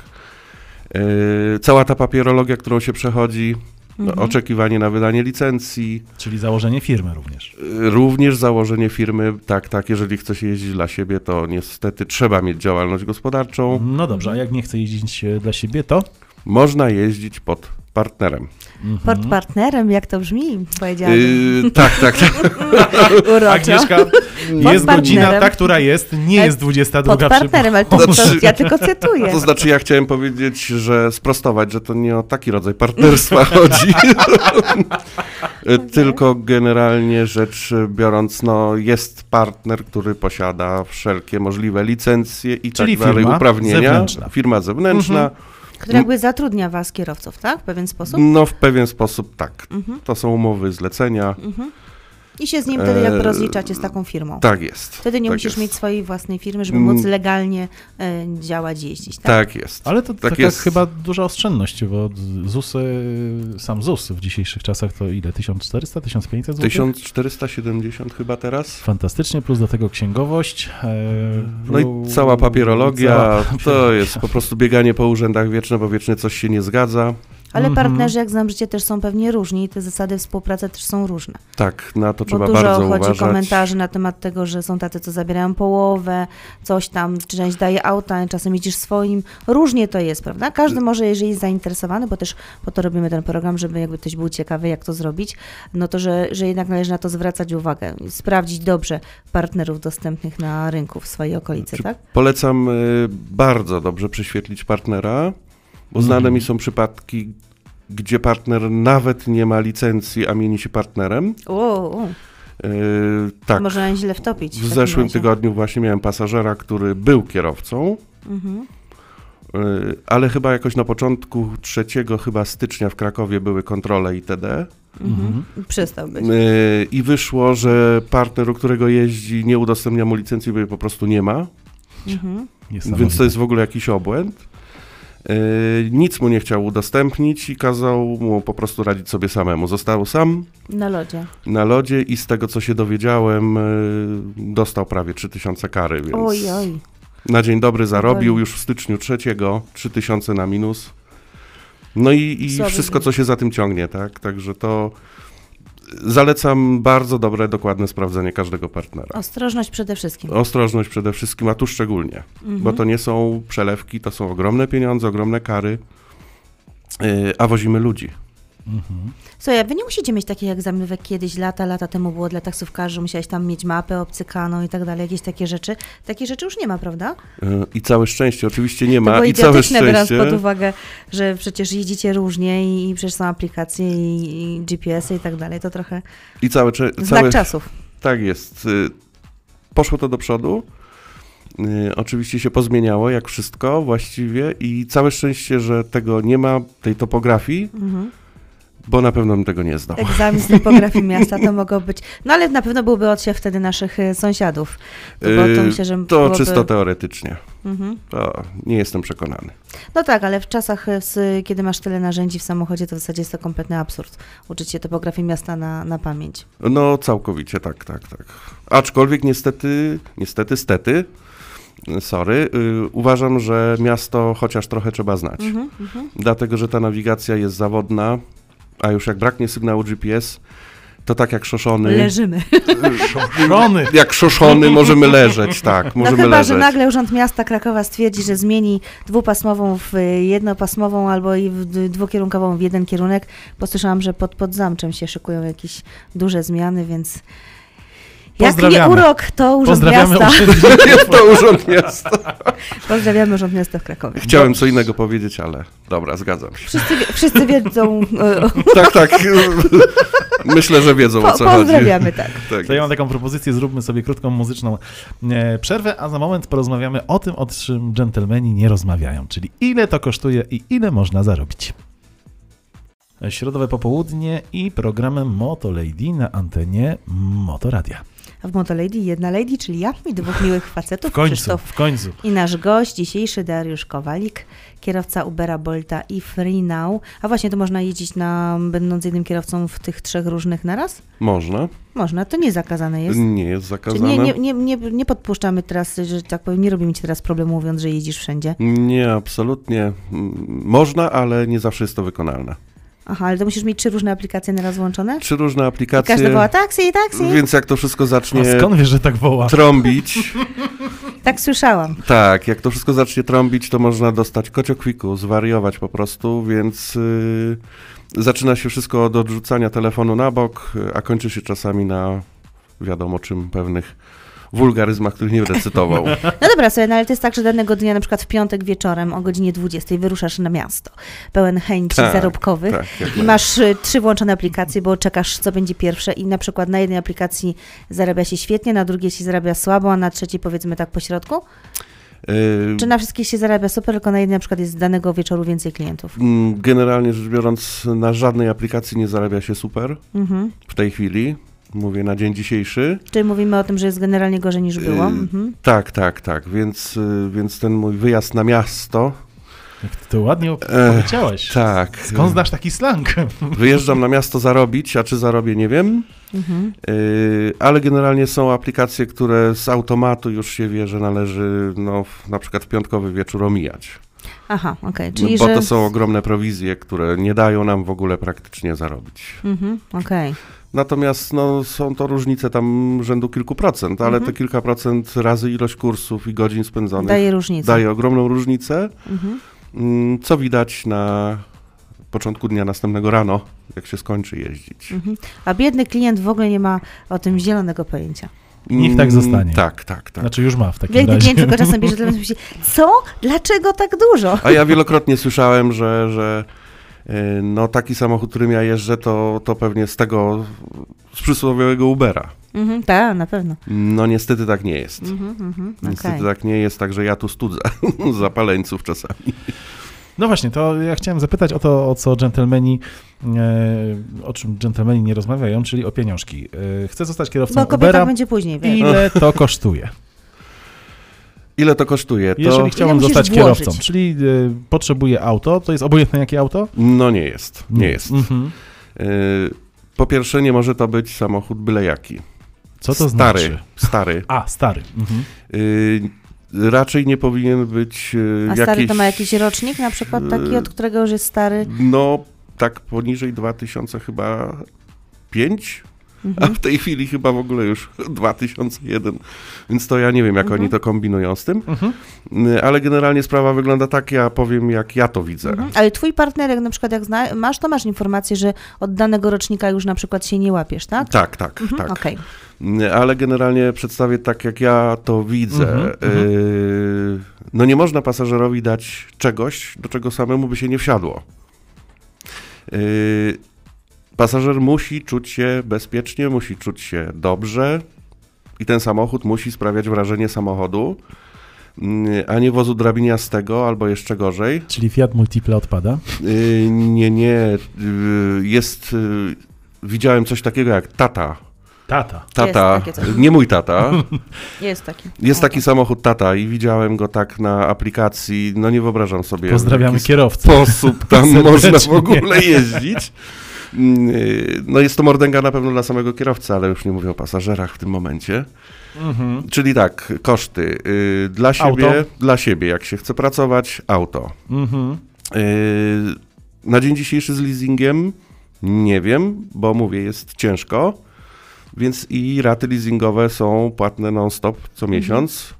Speaker 3: Yy, cała ta papierologia, którą się przechodzi, no,
Speaker 2: Mhm.
Speaker 3: oczekiwanie na wydanie licencji, y,
Speaker 1: Czyli założenie firmy również.
Speaker 3: Również założenie firmy, tak, tak, jeżeli chce się jeździć dla siebie, to niestety trzeba mieć działalność
Speaker 2: Mhm.
Speaker 3: gospodarczą.
Speaker 1: No dobrze, a jak nie chce jeździć e, dla siebie, to?
Speaker 3: Można jeździć pod partnerem.
Speaker 2: Port partnerem, jak to brzmi, powiedziałabym.
Speaker 3: Yy, tak, tak, tak.
Speaker 2: Uroczo.
Speaker 1: Agnieszka,
Speaker 2: no. Pod
Speaker 1: jest godzina
Speaker 2: partnerem.
Speaker 1: ta, która jest, nie jest
Speaker 2: E,
Speaker 1: 22.
Speaker 2: Pod partnerem, ale to, to,
Speaker 3: Znaczy-
Speaker 2: ja tylko cytuję.
Speaker 3: To znaczy, ja chciałem powiedzieć, że sprostować, że to nie o taki rodzaj partnerstwa chodzi. Yy, Tylko generalnie rzecz biorąc, no, jest partner, który posiada wszelkie możliwe licencje i
Speaker 1: Czyli
Speaker 3: tak dalej,
Speaker 1: firma
Speaker 3: uprawnienia.
Speaker 1: zewnętrzna.
Speaker 3: Firma zewnętrzna.
Speaker 2: Mhm. Który jakby zatrudnia was kierowców, tak? W pewien sposób. Mhm.
Speaker 3: No, w pewien sposób tak. To są umowy, zlecenia.
Speaker 2: I się z nim wtedy jakby
Speaker 3: Eee,
Speaker 2: rozliczacie z taką firmą.
Speaker 3: Tak jest.
Speaker 2: Wtedy nie
Speaker 3: tak
Speaker 2: musisz
Speaker 3: jest.
Speaker 2: mieć swojej własnej firmy, żeby
Speaker 3: Mm.
Speaker 2: móc legalnie e, działać, jeździć, tak?
Speaker 3: Tak jest.
Speaker 1: Ale to taka
Speaker 3: jest.
Speaker 1: chyba duża oszczędność, bo ZUS, e, sam ZUS w dzisiejszych czasach to ile? 1400, 1500 zł?
Speaker 3: 1470 chyba teraz?
Speaker 1: Fantastycznie, plus do tego księgowość. e,
Speaker 3: No i
Speaker 1: plus-
Speaker 3: cała papierologia,
Speaker 1: cała
Speaker 3: to
Speaker 1: papierologia.
Speaker 3: jest po prostu bieganie po urzędach wieczne, bo wiecznie coś się nie zgadza.
Speaker 2: Ale
Speaker 1: Mhm.
Speaker 2: partnerzy, jak znam życie, też są pewnie różni i te zasady współpracy też są różne.
Speaker 3: Tak, na to trzeba
Speaker 2: bo dużo
Speaker 3: bardzo
Speaker 2: chodzi
Speaker 3: uważać.
Speaker 2: komentarzy na temat tego, że są tacy, co zabierają połowę, coś tam, część daje auta, czasem jedziesz swoim. Różnie to jest, prawda?
Speaker 3: Mm.
Speaker 2: Każdy może, jeżeli jest zainteresowany, bo też po to robimy ten program, żeby jakby ktoś był ciekawy, jak to zrobić, no to, że, że jednak należy na to zwracać uwagę, i sprawdzić dobrze partnerów dostępnych na rynku w swojej okolicy,
Speaker 3: Czy
Speaker 2: tak?
Speaker 3: Polecam y, bardzo dobrze prześwietlić partnera, bo znane mi są przypadki, gdzie partner nawet nie ma licencji, a mieni się partnerem.
Speaker 2: O, o,
Speaker 3: Y, tak.
Speaker 2: Można źle wtopić.
Speaker 3: W
Speaker 2: takim
Speaker 3: zeszłym
Speaker 2: razie.
Speaker 3: tygodniu właśnie miałem pasażera, który był kierowcą,
Speaker 2: Mhm.
Speaker 3: y, ale chyba jakoś na początku 3 chyba stycznia w Krakowie były kontrole itd.
Speaker 2: Mhm. Przestał być.
Speaker 3: Y, I wyszło, że partner, u którego jeździ, nie udostępnia mu licencji, bo jej po prostu nie ma,
Speaker 2: Mhm.
Speaker 3: więc to jest w ogóle jakiś obłęd. Y, Nic mu nie chciał udostępnić i kazał mu po prostu radzić sobie samemu. Został sam
Speaker 2: Na lodzie.
Speaker 3: na lodzie i z tego, co się dowiedziałem, y, dostał prawie 3000 kary, więc...
Speaker 2: Oj, oj.
Speaker 3: Na dzień dobry zarobił
Speaker 2: Oj.
Speaker 3: już w styczniu 3, 3000 na minus. No i, i
Speaker 2: Słaby
Speaker 3: wszystko,
Speaker 2: dzień.
Speaker 3: co się za tym ciągnie, tak? Także to zalecam bardzo dobre, dokładne sprawdzenie każdego partnera.
Speaker 2: Ostrożność przede wszystkim. Mhm.
Speaker 3: Ostrożność przede wszystkim, a tu szczególnie, bo to nie są przelewki, to są ogromne pieniądze, ogromne kary, yy, a y, wozimy ludzi.
Speaker 1: Mhm.
Speaker 2: Słuchaj, a wy nie musicie mieć takich egzaminów jak kiedyś, lata, lata temu było dla taksówkarzy, że musiałeś tam mieć mapę obcykaną i tak dalej, jakieś takie rzeczy. Takie rzeczy już nie ma, prawda?
Speaker 3: E, I całe szczęście, oczywiście nie
Speaker 2: to
Speaker 3: ma.
Speaker 2: było
Speaker 3: I całe
Speaker 2: idiotyczne, biorąc
Speaker 3: szczęście.
Speaker 2: pod uwagę, że przecież jeździcie różnie i, i przecież są aplikacje i, i GPS-y i tak dalej, to trochę
Speaker 3: I całe, cze-
Speaker 2: znak
Speaker 3: całe,
Speaker 2: czasów.
Speaker 3: Tak jest. Y, Poszło to do przodu. Y, Oczywiście się pozmieniało, jak wszystko właściwie, i całe szczęście, że tego nie ma, tej topografii,
Speaker 2: Mhm.
Speaker 3: bo na pewno bym tego nie zdał.
Speaker 2: Egzamin z topografii miasta to mogło być, no ale na pewno byłby odsiew wtedy naszych e, sąsiadów, bo to
Speaker 3: Y,
Speaker 2: myślę, że
Speaker 3: To
Speaker 2: byłoby...
Speaker 3: czysto teoretycznie.
Speaker 2: Mhm.
Speaker 3: To nie jestem przekonany.
Speaker 2: No tak, ale w czasach, e, s- kiedy masz tyle narzędzi w samochodzie, to w zasadzie jest to kompletny absurd. Uczyć się topografii miasta na, na pamięć.
Speaker 3: No, całkowicie, tak, tak, tak. Aczkolwiek niestety, niestety, stety, y, sorry, y, uważam, że miasto chociaż trochę trzeba znać.
Speaker 2: Mhm, mhm.
Speaker 3: dlatego że ta nawigacja jest zawodna, a już jak braknie sygnału GPS, to tak jak szoszony,
Speaker 2: Leżymy.
Speaker 1: Szoszony.
Speaker 3: jak szoszony możemy leżeć, tak,
Speaker 2: No
Speaker 3: możemy
Speaker 2: chyba,
Speaker 3: leżeć.
Speaker 2: że nagle Urząd Miasta Krakowa stwierdzi, że zmieni dwupasmową w y, jednopasmową albo i w d- dwukierunkową w jeden kierunek. Posłyszałam, że pod Podzamczem się szykują jakieś duże zmiany, więc jak nie
Speaker 1: Pozdrawiamy.
Speaker 2: urok, to Urząd
Speaker 1: Pozdrawiamy
Speaker 2: Miasta.
Speaker 1: urzędników.
Speaker 3: to urząd miasta.
Speaker 2: Pozdrawiamy Urząd Miasta w Krakowie.
Speaker 3: Chciałem co innego powiedzieć, ale dobra, zgadzam się.
Speaker 2: Wszyscy, wie- wszyscy wiedzą, e, o-
Speaker 3: Tak, tak, myślę, że wiedzą o
Speaker 2: po,
Speaker 3: co chodzi.
Speaker 2: pozdrawiamy, tak.
Speaker 3: Tak.
Speaker 1: To ja mam taką propozycję, zróbmy sobie krótką muzyczną e, przerwę, a za moment porozmawiamy o tym, o czym dżentelmeni nie rozmawiają, czyli ile to kosztuje i ile można zarobić. Środowe popołudnie i programem Moto Lady na antenie Motoradia.
Speaker 2: A w Moto Lady jedna lady, czyli ja i dwóch miłych facetów,
Speaker 1: W końcu,
Speaker 2: Krzysztof
Speaker 1: w końcu.
Speaker 2: i nasz gość dzisiejszy Dariusz Kowalik, kierowca Ubera, Bolta i FreeNow. A właśnie, to można jeździć na, będąc jednym kierowcą w tych trzech różnych naraz?
Speaker 3: tak- Można,
Speaker 2: Można, to nie zakazane jest.
Speaker 3: nie jest
Speaker 2: Czyli
Speaker 3: zakazane.
Speaker 2: nie, nie, nie, nie, nie podpuszczamy teraz, że tak powiem, nie robimy ci teraz problemu mówiąc, że jeździsz wszędzie.
Speaker 3: Nie, absolutnie. Mm, Można, ale nie zawsze jest to wykonalne.
Speaker 2: Aha, ale to musisz mieć trzy różne aplikacje naraz włączone?
Speaker 3: Trzy różne
Speaker 2: I
Speaker 3: aplikacje,
Speaker 2: każdy woła taksi, taksi.
Speaker 3: więc jak to wszystko zacznie
Speaker 1: A skąd wiesz, że tak woła?
Speaker 3: trąbić,
Speaker 2: Tak słyszałam.
Speaker 3: Tak, jak to wszystko zacznie trąbić, to można dostać kociokwiku, zwariować po prostu, więc y, zaczyna się wszystko od odrzucania telefonu na bok, y, a kończy się czasami na wiadomo czym pewnych wulgaryzmach, których nie recytował.
Speaker 2: No dobra, sobie, no ale to jest tak, że danego dnia, na przykład w piątek wieczorem o godzinie 20 wyruszasz na miasto, pełen chęci
Speaker 3: Tak,
Speaker 2: zarobkowych.
Speaker 3: tak, jak
Speaker 2: I masz y, trzy włączone aplikacje, bo czekasz, co będzie pierwsze i na przykład na jednej aplikacji zarabia się świetnie, na drugiej się zarabia słabo, a na trzeciej powiedzmy tak po środku.
Speaker 3: Y,
Speaker 2: Czy na wszystkich się zarabia super, tylko na jednej na przykład jest danego wieczoru więcej klientów.
Speaker 3: mm, Generalnie rzecz biorąc, na żadnej aplikacji nie zarabia się super
Speaker 2: Mhm.
Speaker 3: w tej chwili. Mówię na dzień dzisiejszy.
Speaker 2: Czyli mówimy o tym, że jest generalnie gorzej niż było.
Speaker 3: Y,
Speaker 2: Mhm.
Speaker 3: Tak, tak, tak. Więc, y, więc ten mój wyjazd na miasto.
Speaker 1: Jak ty to ładnie op-
Speaker 3: E,
Speaker 1: powiedziałeś.
Speaker 3: Tak.
Speaker 1: Skąd znasz taki slang?
Speaker 3: Wyjeżdżam na miasto zarobić, a czy zarobię, nie wiem.
Speaker 2: Mhm.
Speaker 3: Yy, ale generalnie są aplikacje, które z automatu już się wie, że należy no, w- na przykład w piątkowy wieczór omijać.
Speaker 2: Aha, okej. Czyli,
Speaker 3: No, bo
Speaker 2: że...
Speaker 3: to są ogromne prowizje, które nie dają nam w ogóle praktycznie zarobić.
Speaker 2: Mhm, okej.
Speaker 3: Natomiast no, są to różnice tam rzędu kilku procent, ale
Speaker 2: Mhm.
Speaker 3: te kilka procent razy ilość kursów i godzin spędzonych daje,
Speaker 2: Daje różnicę.
Speaker 3: ogromną różnicę,
Speaker 2: Mhm.
Speaker 3: mm, co widać na początku dnia następnego rano, jak się skończy jeździć.
Speaker 2: Mhm. A biedny klient w ogóle nie ma o tym zielonego pojęcia.
Speaker 1: Niech tak
Speaker 3: Mm,
Speaker 1: zostanie.
Speaker 3: Tak, tak, tak.
Speaker 1: Znaczy już ma w takim
Speaker 2: Biedny
Speaker 1: razie.
Speaker 2: klient tylko czasem bierze telefon i myśli, co? Dlaczego tak dużo?
Speaker 3: A ja wielokrotnie słyszałem, że, że y, no, taki samochód, którym ja jeżdżę, to, to pewnie z tego, z przysłowiowego Ubera.
Speaker 2: Mhm, tak, na pewno.
Speaker 3: No niestety tak nie jest.
Speaker 2: Mhm, mhm,
Speaker 3: Niestety
Speaker 2: okej.
Speaker 3: tak nie jest, także ja tu studzę zapaleńców czasami.
Speaker 1: No właśnie, to ja chciałem zapytać o to, o co dżentelmeni, e, o czym dżentelmeni nie rozmawiają, czyli o pieniążki. E, chcę zostać kierowcą
Speaker 2: Bo No, kobieta
Speaker 1: Ubera.
Speaker 2: będzie później, wiesz.
Speaker 1: Ile to kosztuje?
Speaker 3: Ile to kosztuje? To,
Speaker 1: Jeżeli chciałbym
Speaker 2: Ile musisz
Speaker 1: zostać
Speaker 2: włożyć?
Speaker 1: kierowcą, czyli e, potrzebuję auto, to jest obojętne jakie auto?
Speaker 3: no nie jest, nie jest.
Speaker 1: Mhm.
Speaker 3: Y, Po pierwsze, nie może to być samochód byle jaki.
Speaker 1: Co to
Speaker 3: stary,
Speaker 1: znaczy?
Speaker 3: Stary.
Speaker 1: A, stary. Mhm.
Speaker 3: Y, Raczej nie powinien być y,
Speaker 2: A
Speaker 3: jakiś...
Speaker 2: stary to ma jakiś rocznik na przykład taki, od którego już jest stary?
Speaker 3: No, tak poniżej 2000 chyba 5 a w tej chwili chyba w ogóle już 2001, więc to ja nie wiem, jak
Speaker 2: Mhm.
Speaker 3: oni to kombinują z tym,
Speaker 1: Mhm.
Speaker 3: Y, ale generalnie sprawa wygląda tak, ja powiem, jak ja to widzę.
Speaker 2: Mhm. Ale twój partnerek na przykład jak zna, masz, to masz informację, że od danego rocznika już na przykład się nie łapiesz, tak?
Speaker 3: Tak, tak,
Speaker 2: Mhm,
Speaker 3: tak.
Speaker 2: Okej.
Speaker 3: Y, Ale generalnie przedstawię tak, jak ja to widzę.
Speaker 1: Mhm,
Speaker 2: mhm.
Speaker 3: Y, No nie można pasażerowi dać czegoś, do czego samemu by się nie wsiadło. Y, Pasażer musi czuć się bezpiecznie, musi czuć się dobrze i ten samochód musi sprawiać wrażenie samochodu, y, a nie wozu drabiniastego albo jeszcze gorzej.
Speaker 1: Czyli Fiat Multipla odpada.
Speaker 3: Y, Nie, nie. y, Jest. y, Widziałem coś takiego jak tata.
Speaker 1: Tata.
Speaker 3: Tata,
Speaker 2: Jest takie coś.
Speaker 3: nie mój tata,
Speaker 2: Jest taki.
Speaker 3: jest taki
Speaker 2: Okej.
Speaker 3: samochód Tata i widziałem go tak na aplikacji, no nie wyobrażam sobie. w
Speaker 1: Pozdrawiamy
Speaker 3: jaki
Speaker 1: kierowcę.
Speaker 3: sposób tam
Speaker 1: Serdecznie.
Speaker 3: można w ogóle jeździć. Mm, y, No jest to mordęga na pewno dla samego kierowcy, ale już nie mówię o pasażerach w tym momencie.
Speaker 1: Mhm.
Speaker 3: Czyli tak, koszty. y, Dla
Speaker 1: Auto.
Speaker 3: siebie, dla siebie, jak się chce pracować, auto.
Speaker 1: Mhm.
Speaker 3: Yy, Na dzień dzisiejszy z leasingiem nie wiem, bo mówię, jest ciężko, więc i raty leasingowe są płatne non-stop co miesiąc.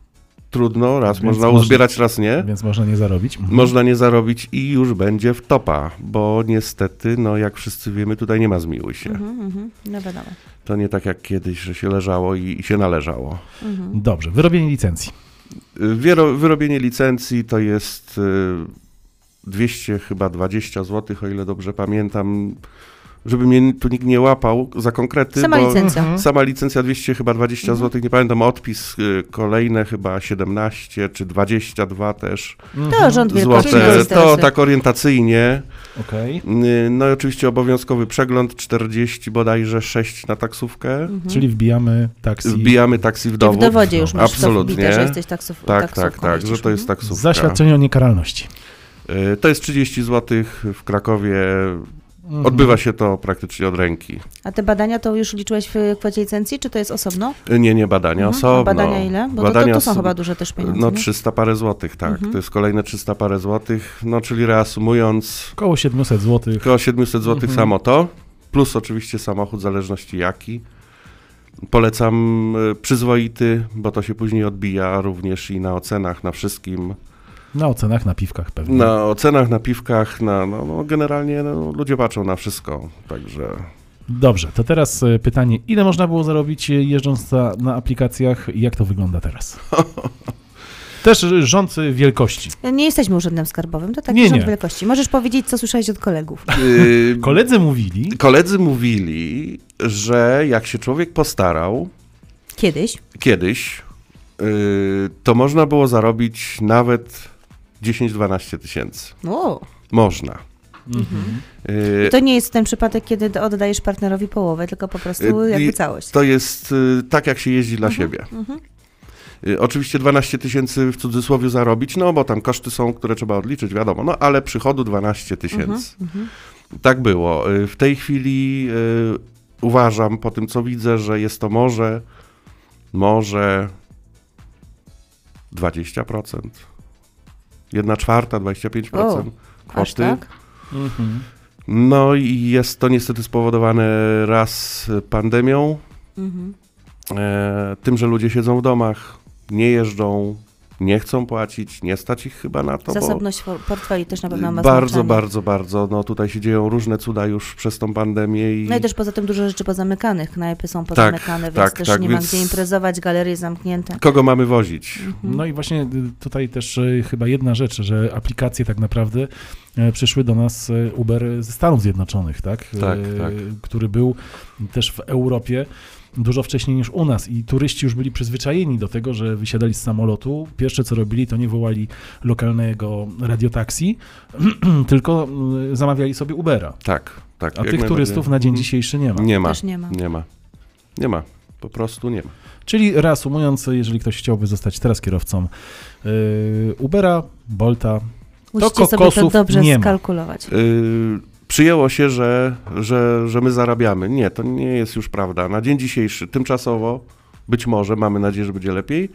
Speaker 3: Trudno, raz
Speaker 1: Więc
Speaker 3: można
Speaker 1: można-
Speaker 3: uzbierać, raz nie.
Speaker 1: Więc można nie zarobić. Mhm.
Speaker 3: Można nie zarobić i już będzie w topa, bo niestety, no jak wszyscy wiemy, tutaj nie ma zmiłuj się.
Speaker 2: Mhm, mhm. No wiadomo.
Speaker 3: To nie tak jak kiedyś, że się leżało i, i się należało.
Speaker 2: Mhm.
Speaker 1: Dobrze, wyrobienie licencji.
Speaker 3: Y, Wiero, wyrobienie licencji to jest y, 200 chyba 20 zł, o ile dobrze pamiętam. Żeby mnie tu nikt nie łapał za konkrety,
Speaker 2: Sama
Speaker 3: bo
Speaker 2: licencja.
Speaker 1: Mhm.
Speaker 3: sama licencja 200 chyba 20
Speaker 2: Mhm.
Speaker 3: zł, nie pamiętam, odpis y, kolejne chyba 17 czy 22 też
Speaker 1: Mhm.
Speaker 2: To rząd wielkości
Speaker 3: złote.
Speaker 2: nas
Speaker 3: To
Speaker 2: interesuje.
Speaker 3: tak orientacyjnie.
Speaker 1: Okej.
Speaker 3: Y, No i oczywiście obowiązkowy przegląd 40 bodajże 6 na taksówkę.
Speaker 2: Mhm.
Speaker 1: Czyli wbijamy taksi.
Speaker 3: Wbijamy taksi w
Speaker 2: Czyli
Speaker 3: dowód.
Speaker 2: w dowodzie już masz
Speaker 3: Absolutnie.
Speaker 2: to wbite, że jesteś taksów,
Speaker 3: Tak,
Speaker 2: taksówką
Speaker 3: tak, tak,
Speaker 2: jeździsz. mhm.
Speaker 3: że to jest taksówka.
Speaker 1: Zaświadczenie o niekaralności.
Speaker 3: Y, To jest 30 zł w Krakowie.
Speaker 2: Mhm.
Speaker 3: Mhm. Odbywa się to praktycznie od ręki.
Speaker 2: A te badania to już liczyłeś w kwocie licencji, czy to jest osobno?
Speaker 3: Y, Nie, nie, badania
Speaker 2: Mhm.
Speaker 3: osobno.
Speaker 2: A badania ile? Bo to,
Speaker 3: Badania
Speaker 2: to, to są
Speaker 3: osobno.
Speaker 2: chyba duże też pieniądze.
Speaker 3: No
Speaker 2: nie?
Speaker 3: 300 parę złotych, tak.
Speaker 2: Mhm.
Speaker 3: To jest kolejne 300 parę złotych. No czyli reasumując,
Speaker 1: Około 700 zł.
Speaker 3: około 700 złotych
Speaker 1: Mhm.
Speaker 3: samo to, plus oczywiście samochód, w zależności jaki. Polecam y, przyzwoity, bo to się później odbija również i na ocenach, na wszystkim.
Speaker 1: Na ocenach, na piwkach pewnie.
Speaker 2: Mhm.
Speaker 3: Na ocenach, na piwkach, na, no, no generalnie no, ludzie patrzą na wszystko, także...
Speaker 1: Dobrze, to teraz e, pytanie, ile można było zarobić e, jeżdżąc na, na aplikacjach i jak to wygląda teraz? Też e, rząd e, wielkości.
Speaker 2: Nie jesteśmy urzędem skarbowym, to taki
Speaker 1: Nie,
Speaker 2: rząd
Speaker 1: nie.
Speaker 2: wielkości. Możesz powiedzieć, co słyszałeś od kolegów.
Speaker 1: Y,
Speaker 3: Yy,
Speaker 1: Koledzy mówili,
Speaker 3: Koledzy mówili, że jak się człowiek postarał
Speaker 2: Kiedyś.
Speaker 3: kiedyś, yy, to można było zarobić nawet 10-12 tysięcy.
Speaker 2: O.
Speaker 3: Można. Yy,
Speaker 2: I to nie jest ten przypadek, kiedy oddajesz partnerowi połowę, tylko po prostu
Speaker 3: Y,
Speaker 2: jakby
Speaker 3: i-
Speaker 2: całość.
Speaker 3: to jest yy, tak, jak się jeździ dla
Speaker 2: Mhm,
Speaker 3: siebie.
Speaker 2: Mhm.
Speaker 3: Yy, Oczywiście 12 tysięcy w cudzysłowie zarobić, no bo tam koszty są, które trzeba odliczyć, wiadomo, no ale przychodu 12
Speaker 2: Mhm.
Speaker 3: tysięcy.
Speaker 2: Mhm.
Speaker 3: Tak było. Y, W tej chwili y, uważam, po tym co widzę, że jest to może, może 20%. 1 czwarta, 25%
Speaker 2: O, Aż
Speaker 3: kwoty.
Speaker 2: tak?
Speaker 3: No i jest to niestety spowodowane raz pandemią,
Speaker 2: Mhm.
Speaker 3: e, tym, że ludzie siedzą w domach, nie jeżdżą, nie chcą płacić, nie stać ich chyba na to, bo
Speaker 2: Zasobność for- portfeli też na pewno ma
Speaker 3: bardzo,
Speaker 2: znaczenie.
Speaker 3: bardzo, bardzo. No tutaj się dzieją różne cuda już przez tą pandemię i
Speaker 2: No i też poza tym dużo rzeczy pozamykanych, knajpy są pozamykane, więc
Speaker 3: tak,
Speaker 2: też
Speaker 3: tak,
Speaker 2: nie ma
Speaker 3: więc-
Speaker 2: gdzie imprezować, galerie zamknięte.
Speaker 3: kogo mamy wozić?
Speaker 2: Mhm.
Speaker 1: No i właśnie y, tutaj też y, chyba jedna rzecz, że aplikacje tak naprawdę e, przyszły do nas e, Uber ze Stanów Zjednoczonych, tak?
Speaker 3: Tak,
Speaker 1: E,
Speaker 3: tak.
Speaker 1: Który był też w Europie dużo wcześniej niż u nas i turyści już byli przyzwyczajeni do tego, że wysiadali z samolotu. Pierwsze co robili, to nie wołali lokalnego radiotaksi, tylko y, zamawiali sobie Ubera.
Speaker 3: Tak, tak.
Speaker 1: A
Speaker 3: jak
Speaker 1: tych
Speaker 3: najbardziej.
Speaker 1: turystów na dzień
Speaker 3: Mhm.
Speaker 1: dzisiejszy nie ma.
Speaker 3: nie ma.
Speaker 2: Też nie ma.
Speaker 3: Nie ma. Nie ma. Po prostu nie ma.
Speaker 1: Czyli reasumując, jeżeli ktoś chciałby zostać teraz kierowcą y, Ubera, Bolta,
Speaker 2: Musicie sobie to
Speaker 1: kokosów
Speaker 2: dobrze
Speaker 1: nie ma.
Speaker 2: skalkulować.
Speaker 3: Yy, przyjęło się, że, że, że my zarabiamy. Nie, to nie jest już prawda. Na dzień dzisiejszy, tymczasowo, być może, mamy nadzieję, że będzie lepiej.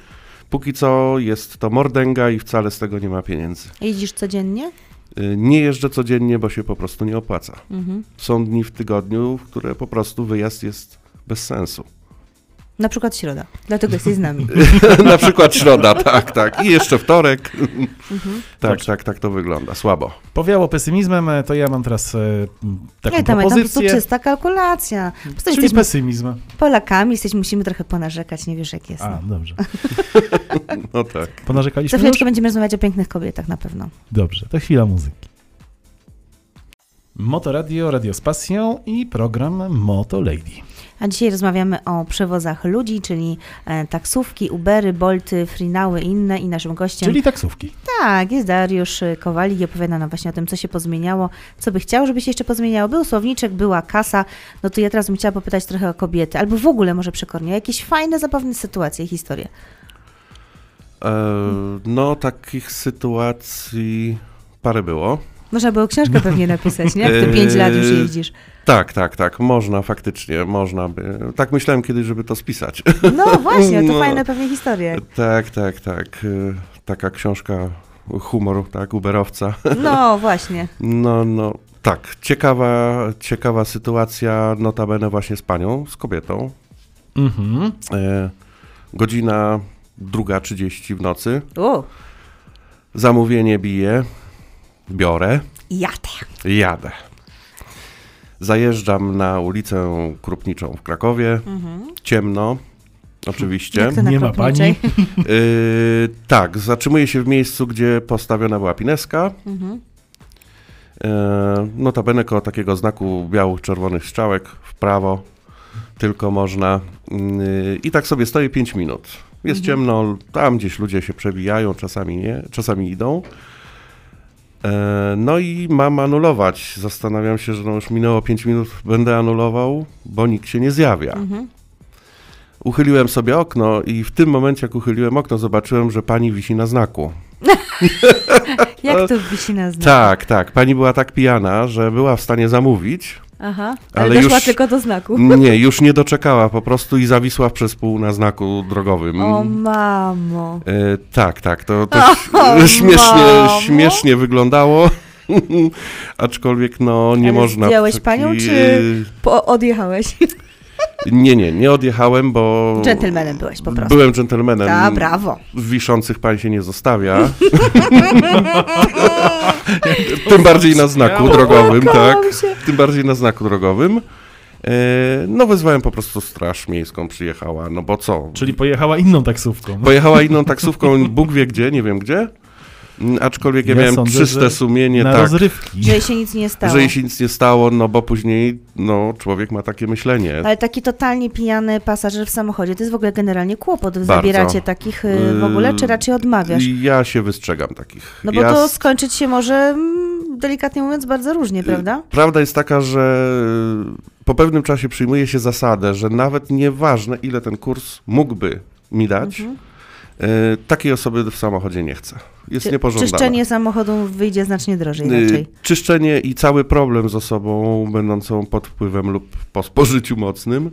Speaker 3: Póki co jest to mordęga i wcale z tego nie ma pieniędzy.
Speaker 2: Jeździsz codziennie?
Speaker 3: Yy, Nie jeżdżę codziennie, bo się po prostu nie opłaca.
Speaker 2: Mhm.
Speaker 3: Są dni w tygodniu, w które po prostu wyjazd jest bez sensu.
Speaker 2: Na przykład środa. Dlatego jesteś z nami.
Speaker 3: Na przykład środa, tak, tak. I jeszcze wtorek.
Speaker 2: Mhm.
Speaker 3: Tak,
Speaker 1: Dobrze.
Speaker 3: tak, tak to wygląda. Słabo.
Speaker 1: Powiało pesymizmem, e, to ja mam teraz e, m, taką
Speaker 2: Nie, tam, tam po prostu
Speaker 1: propozycję,
Speaker 2: czysta kalkulacja. Po prostu
Speaker 1: czyli
Speaker 2: jesteśmy
Speaker 1: pesymizm.
Speaker 2: Polakami, jesteśmy, musimy trochę ponarzekać, nie wiesz jak jest.
Speaker 1: A,
Speaker 2: No.
Speaker 1: dobrze.
Speaker 3: No tak.
Speaker 2: Za
Speaker 1: Ponarzekaliśmy już?
Speaker 2: chwileczkę będziemy rozmawiać o pięknych kobietach na pewno.
Speaker 1: Dobrze, to chwila muzyki. Motoradio, Radio z pasją i program Moto Lady.
Speaker 2: A dzisiaj rozmawiamy o przewozach ludzi, czyli e, taksówki, Ubery, Bolty, Freenały i inne. I naszym gościem
Speaker 1: Czyli taksówki.
Speaker 2: Tak, jest Dariusz Kowalik i opowiada nam właśnie o tym, co się pozmieniało, co by chciał, żeby się jeszcze pozmieniało. Był słowniczek, była kasa, no to ja teraz bym chciała popytać trochę o kobiety, albo w ogóle może przekornie, o jakieś fajne, zabawne sytuacje i historie.
Speaker 3: E, no, takich sytuacji parę było.
Speaker 2: Można było książkę pewnie napisać, nie? Jak ty
Speaker 3: Eee,
Speaker 2: 5 lat już jeździsz.
Speaker 3: Tak, tak, tak. Można faktycznie, można by. Tak myślałem kiedyś, żeby to spisać.
Speaker 2: No właśnie, to
Speaker 3: no.
Speaker 2: fajne pewnie historie.
Speaker 3: tak, tak, tak. E, Taka książka humor, tak, uberowca.
Speaker 2: No właśnie.
Speaker 3: No, no, tak. Ciekawa, ciekawa sytuacja, notabene właśnie z panią, z kobietą.
Speaker 1: Mhm.
Speaker 3: E, godzina 2.30 w nocy.
Speaker 2: O,
Speaker 3: Zamówienie bije, biorę,
Speaker 2: jadę.
Speaker 3: jadę. Zajeżdżam na ulicę Krupniczą w Krakowie. Ciemno, oczywiście.
Speaker 2: Jak to na
Speaker 1: Nie ma
Speaker 2: Krupniczej?
Speaker 3: Yy, tak, zatrzymuję się w miejscu, gdzie postawiona była pineska.
Speaker 2: Mhm.
Speaker 3: Yy, notabene koło takiego znaku białych-czerwonych strzałek w prawo tylko można. Yy, I tak sobie stoję 5 minut. Jest ciemno, tam gdzieś ludzie się przewijają, czasami nie, czasami idą. Yy, No i mam anulować. Zastanawiam się, że no już minęło 5 minut, będę anulował, bo nikt się nie zjawia.
Speaker 2: Mhm.
Speaker 3: Uchyliłem sobie okno i w tym momencie, jak uchyliłem okno, zobaczyłem, że pani wisi na znaku.
Speaker 2: Jak to wisi na znak?
Speaker 3: Tak, tak. Pani była tak pijana, że była w stanie zamówić.
Speaker 2: Aha, ale,
Speaker 3: Ale
Speaker 2: doszła
Speaker 3: już-
Speaker 2: tylko do znaku.
Speaker 3: Nie, już nie doczekała po prostu i zawisła przez pół na znaku drogowym.
Speaker 2: O mamo.
Speaker 3: E, tak, tak, to, to
Speaker 2: O,
Speaker 3: śmiesznie,
Speaker 2: mamo.
Speaker 3: śmiesznie wyglądało. Aczkolwiek no nie
Speaker 2: Ale
Speaker 3: można. w
Speaker 2: zdjąłeś
Speaker 3: taki-
Speaker 2: panią, czy- Po, odjechałeś.
Speaker 3: Mm. Nie, nie, nie odjechałem, bo.
Speaker 2: Dżentelmenem byłeś po prostu.
Speaker 3: Byłem dżentelmenem.
Speaker 2: Ta, brawo.
Speaker 3: Wiszących pan się nie zostawia. Tak. Tym bardziej na znaku drogowym, tak.
Speaker 2: Kocham się.
Speaker 3: Tym bardziej na znaku drogowym. E, No wezwałem po prostu straż miejską, przyjechała, no bo co?
Speaker 1: Czyli pojechała inną taksówką.
Speaker 3: Pojechała inną taksówką, Bóg wie gdzie, nie wiem gdzie. Mm, Aczkolwiek ja,
Speaker 1: Ja
Speaker 3: miałem
Speaker 1: sądzę, że
Speaker 3: czyste sumienie,
Speaker 1: na
Speaker 3: tak,
Speaker 1: rozrywki.
Speaker 2: Że jej się nic nie stało.
Speaker 3: że jej się nic nie stało, no bo później no, człowiek ma takie myślenie.
Speaker 2: Ale taki totalnie pijany pasażer w samochodzie to jest w ogóle generalnie kłopot. Wy
Speaker 3: Bardzo.
Speaker 2: Zabieracie takich y, w ogóle, czy raczej odmawiasz?
Speaker 3: I Ja się wystrzegam takich.
Speaker 2: No bo
Speaker 3: ja
Speaker 2: to skończyć się może, mm, delikatnie mówiąc, bardzo
Speaker 3: Y,
Speaker 2: różnie, prawda?
Speaker 3: Prawda jest taka, że y, po pewnym czasie przyjmuje się zasadę, że nawet nieważne, ile ten kurs mógłby mi dać,
Speaker 2: Mhm.
Speaker 3: y, takiej osoby w samochodzie nie chcę. Jest
Speaker 2: Czy,
Speaker 3: niepożądana.
Speaker 2: czyszczenie samochodu wyjdzie znacznie drożej
Speaker 3: Y,
Speaker 2: raczej.
Speaker 3: Czyszczenie i cały problem z osobą będącą pod wpływem lub po spożyciu mocnym,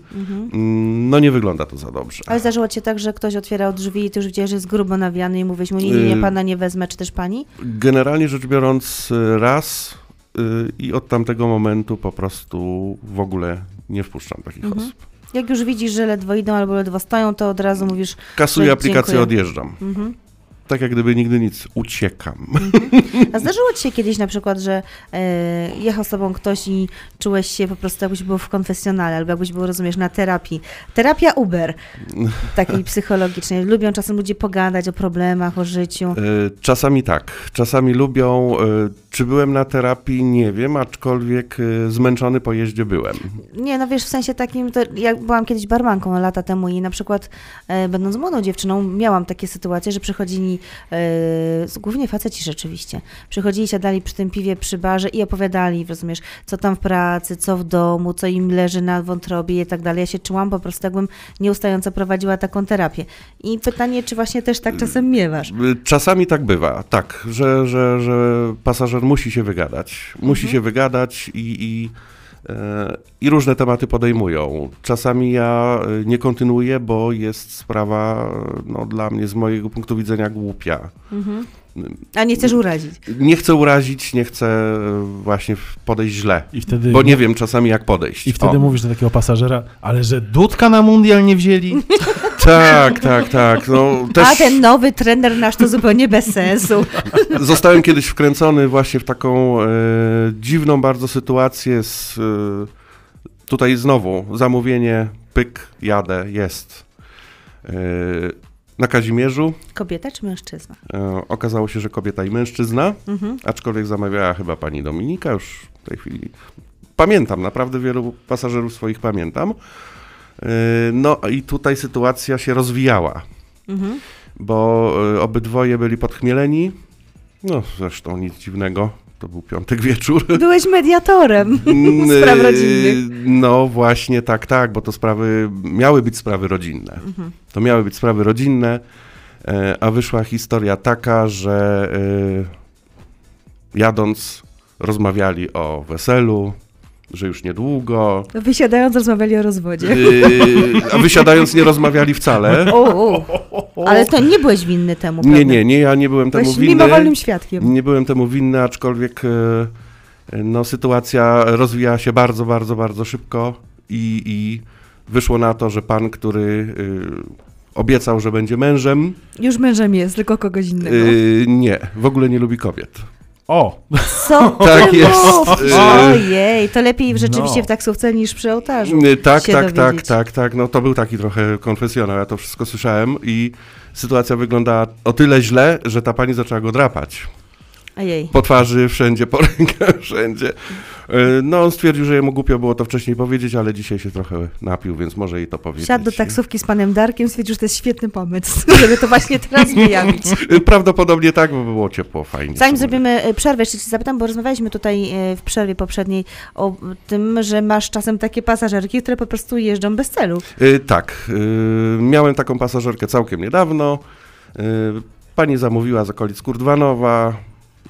Speaker 3: mm, no nie wygląda to za dobrze.
Speaker 2: Ale zdarzyło ci się tak, że ktoś otwierał drzwi i ty już widziałeś, że jest grubo nawiany i mówisz mu, nie, nie, nie,
Speaker 3: Y,
Speaker 2: pana nie wezmę, czy też pani?
Speaker 3: Generalnie rzecz biorąc, y, raz y, i od tamtego momentu po prostu w ogóle nie wpuszczam takich
Speaker 2: Mhm.
Speaker 3: osób.
Speaker 2: Jak już widzisz, że ledwo idą albo ledwo stoją, to od razu mówisz,
Speaker 3: Kasuję
Speaker 2: Dzie-
Speaker 3: aplikację,
Speaker 2: No, dziękuję.
Speaker 3: odjeżdżam.
Speaker 2: mhm.
Speaker 3: Tak jak gdyby nigdy nic, uciekam.
Speaker 2: A zdarzyło ci się kiedyś na przykład, że e, jechał z tobą ktoś i czułeś się po prostu jakbyś był w konfesjonale, albo jakbyś był, rozumiesz, na terapii. Terapia Uber, takiej psychologicznej. Lubią czasem ludzie pogadać o problemach, o życiu.
Speaker 3: Y, Czasami tak, czasami lubią. y, Czy byłem na terapii, nie wiem, aczkolwiek y, zmęczony po jeździe byłem.
Speaker 2: Nie, no wiesz, w sensie takim, to ja byłam kiedyś barmanką lata temu i na przykład e, będąc młodą dziewczyną miałam takie sytuacje, że przychodzili, e, z- głównie faceci rzeczywiście, przychodzili, siadali przy tym piwie przy barze i opowiadali, rozumiesz, co tam w pracy, co w domu, co im leży na wątrobie i tak dalej. Ja się czułam po prostu, jakbym nieustająco prowadziła taką terapię. I pytanie, czy właśnie też tak czasem miewasz?
Speaker 3: Y, Czasami tak bywa, tak, że, że, że pasażer musi się wygadać. Musi
Speaker 1: Mhm.
Speaker 3: się wygadać i, i, e, i różne tematy podejmują. Czasami ja y, nie kontynuuję, bo jest sprawa no, dla mnie z mojego punktu widzenia głupia.
Speaker 2: Mhm. A nie chcesz urazić.
Speaker 3: Nie chcę urazić, nie chcę e, właśnie podejść źle,
Speaker 1: I wtedy,
Speaker 3: bo nie wiem czasami jak podejść.
Speaker 1: i wtedy
Speaker 3: O.
Speaker 1: mówisz do takiego pasażera, ale że Dudka na mundial nie wzięli?
Speaker 3: Tak, tak, tak. No, też...
Speaker 2: A ten nowy trener nasz to zupełnie bez sensu.
Speaker 3: Zostałem kiedyś wkręcony właśnie w taką e, dziwną bardzo sytuację z e, tutaj znowu zamówienie, pyk, jadę, jest. E, na Kazimierzu
Speaker 2: Kobieta czy mężczyzna?
Speaker 3: e, okazało się, że kobieta i mężczyzna,
Speaker 2: Mhm.
Speaker 3: aczkolwiek zamawiała chyba pani Dominika, już w tej chwili pamiętam, naprawdę wielu pasażerów swoich pamiętam. E, no i tutaj sytuacja się rozwijała
Speaker 2: Mhm.
Speaker 3: bo y, obydwoje byli podchmieleni. No zresztą nic dziwnego, to był piątek wieczór.
Speaker 2: Byłeś mediatorem spraw
Speaker 3: Y,
Speaker 2: rodzinnych.
Speaker 3: No właśnie, tak, tak, bo to sprawy, miały być sprawy rodzinne.
Speaker 2: Mhm.
Speaker 3: To miały być sprawy rodzinne, e, a wyszła historia taka, że y, jadąc rozmawiali o weselu, że już niedługo,
Speaker 2: Wysiadając rozmawiali o rozwodzie.
Speaker 3: y, a wysiadając nie rozmawiali wcale.
Speaker 2: O, o. Ale to nie byłeś winny temu, prawda?
Speaker 3: Nie, nie, nie, ja nie byłem temu
Speaker 2: Byłeś
Speaker 3: winny.
Speaker 2: no, mimowolnym świadkiem.
Speaker 3: Nie byłem temu winny, aczkolwiek e, no, sytuacja rozwijała się bardzo, bardzo, bardzo szybko i, i wyszło na to, że pan, który e, obiecał, że będzie mężem,
Speaker 4: Już mężem jest, tylko kogoś
Speaker 3: e,
Speaker 4: innego.
Speaker 3: nie, w ogóle nie lubi kobiet.
Speaker 1: O,
Speaker 2: Co?
Speaker 3: Tak
Speaker 2: ty
Speaker 3: jest.
Speaker 2: mówisz?
Speaker 3: Yy.
Speaker 2: Ojej, to lepiej rzeczywiście
Speaker 1: No.
Speaker 2: w taksówce niż przy ołtarzu.
Speaker 3: E, tak,
Speaker 2: się
Speaker 3: tak, tak,
Speaker 2: dowiedzieć.
Speaker 3: tak, tak. No to był taki trochę konfesjonal, ja to wszystko słyszałem i sytuacja wyglądała o tyle źle, że ta pani zaczęła go drapać.
Speaker 2: Ojej.
Speaker 3: po twarzy, wszędzie, po rękach, wszędzie. E, No, on stwierdził, że jemu głupio było to wcześniej powiedzieć, ale dzisiaj się trochę napił, więc może jej to powiedzieć.
Speaker 2: Wsiadł do taksówki z panem Darkiem, stwierdził, że to jest świetny pomysł.
Speaker 4: Żeby to właśnie teraz wyjawić.
Speaker 3: E, Prawdopodobnie tak, bo było ciepło, fajnie.
Speaker 2: Zanim
Speaker 3: sobie.
Speaker 2: zrobimy e, przerwę, jeszcze cię zapytam, bo rozmawialiśmy tutaj e, w przerwie poprzedniej o tym, że masz czasem takie pasażerki, które po prostu jeżdżą bez celu.
Speaker 3: E, Tak, e, miałem taką pasażerkę całkiem niedawno. E, Pani zamówiła z okolic Kurdwanowa,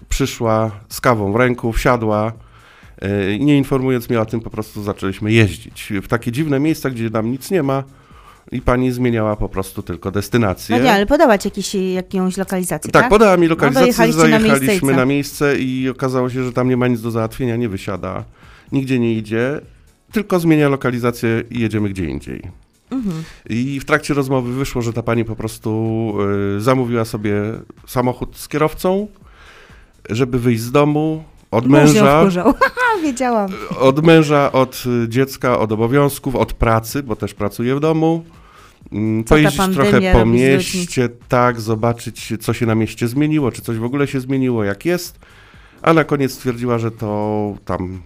Speaker 3: przyszła z kawą w ręku, wsiadła. e, i Nie informując mnie o tym, po prostu zaczęliśmy jeździć w takie dziwne miejsca, gdzie nam nic nie ma i pani zmieniała po prostu tylko destynację.
Speaker 2: No nie, ale podawać jakiś, jakąś lokalizację, tak?
Speaker 3: Tak, podała mi lokalizację,
Speaker 2: dojechaliście na
Speaker 3: zajechaliśmy
Speaker 2: miejscejca.
Speaker 3: na miejsce i okazało się, że tam nie ma nic do załatwienia, nie wysiada, nigdzie nie idzie, tylko zmienia lokalizację i jedziemy gdzie indziej.
Speaker 2: Mhm.
Speaker 3: I w trakcie rozmowy wyszło, że ta pani po prostu y, zamówiła sobie samochód z kierowcą, żeby wyjść z domu, od
Speaker 4: Mąż ją
Speaker 3: męża,
Speaker 4: wkurzał.
Speaker 2: Wiedziałam.
Speaker 3: od męża, od y, dziecka, od obowiązków, od pracy, bo też pracuje w domu. Mm,
Speaker 2: Co ta
Speaker 3: Pojeździć trochę
Speaker 2: pandemia
Speaker 3: po
Speaker 2: robi z ludźmi?
Speaker 3: mieście, tak, zobaczyć, co się na mieście zmieniło, czy coś w ogóle się zmieniło, jak jest. A na koniec stwierdziła, że to tam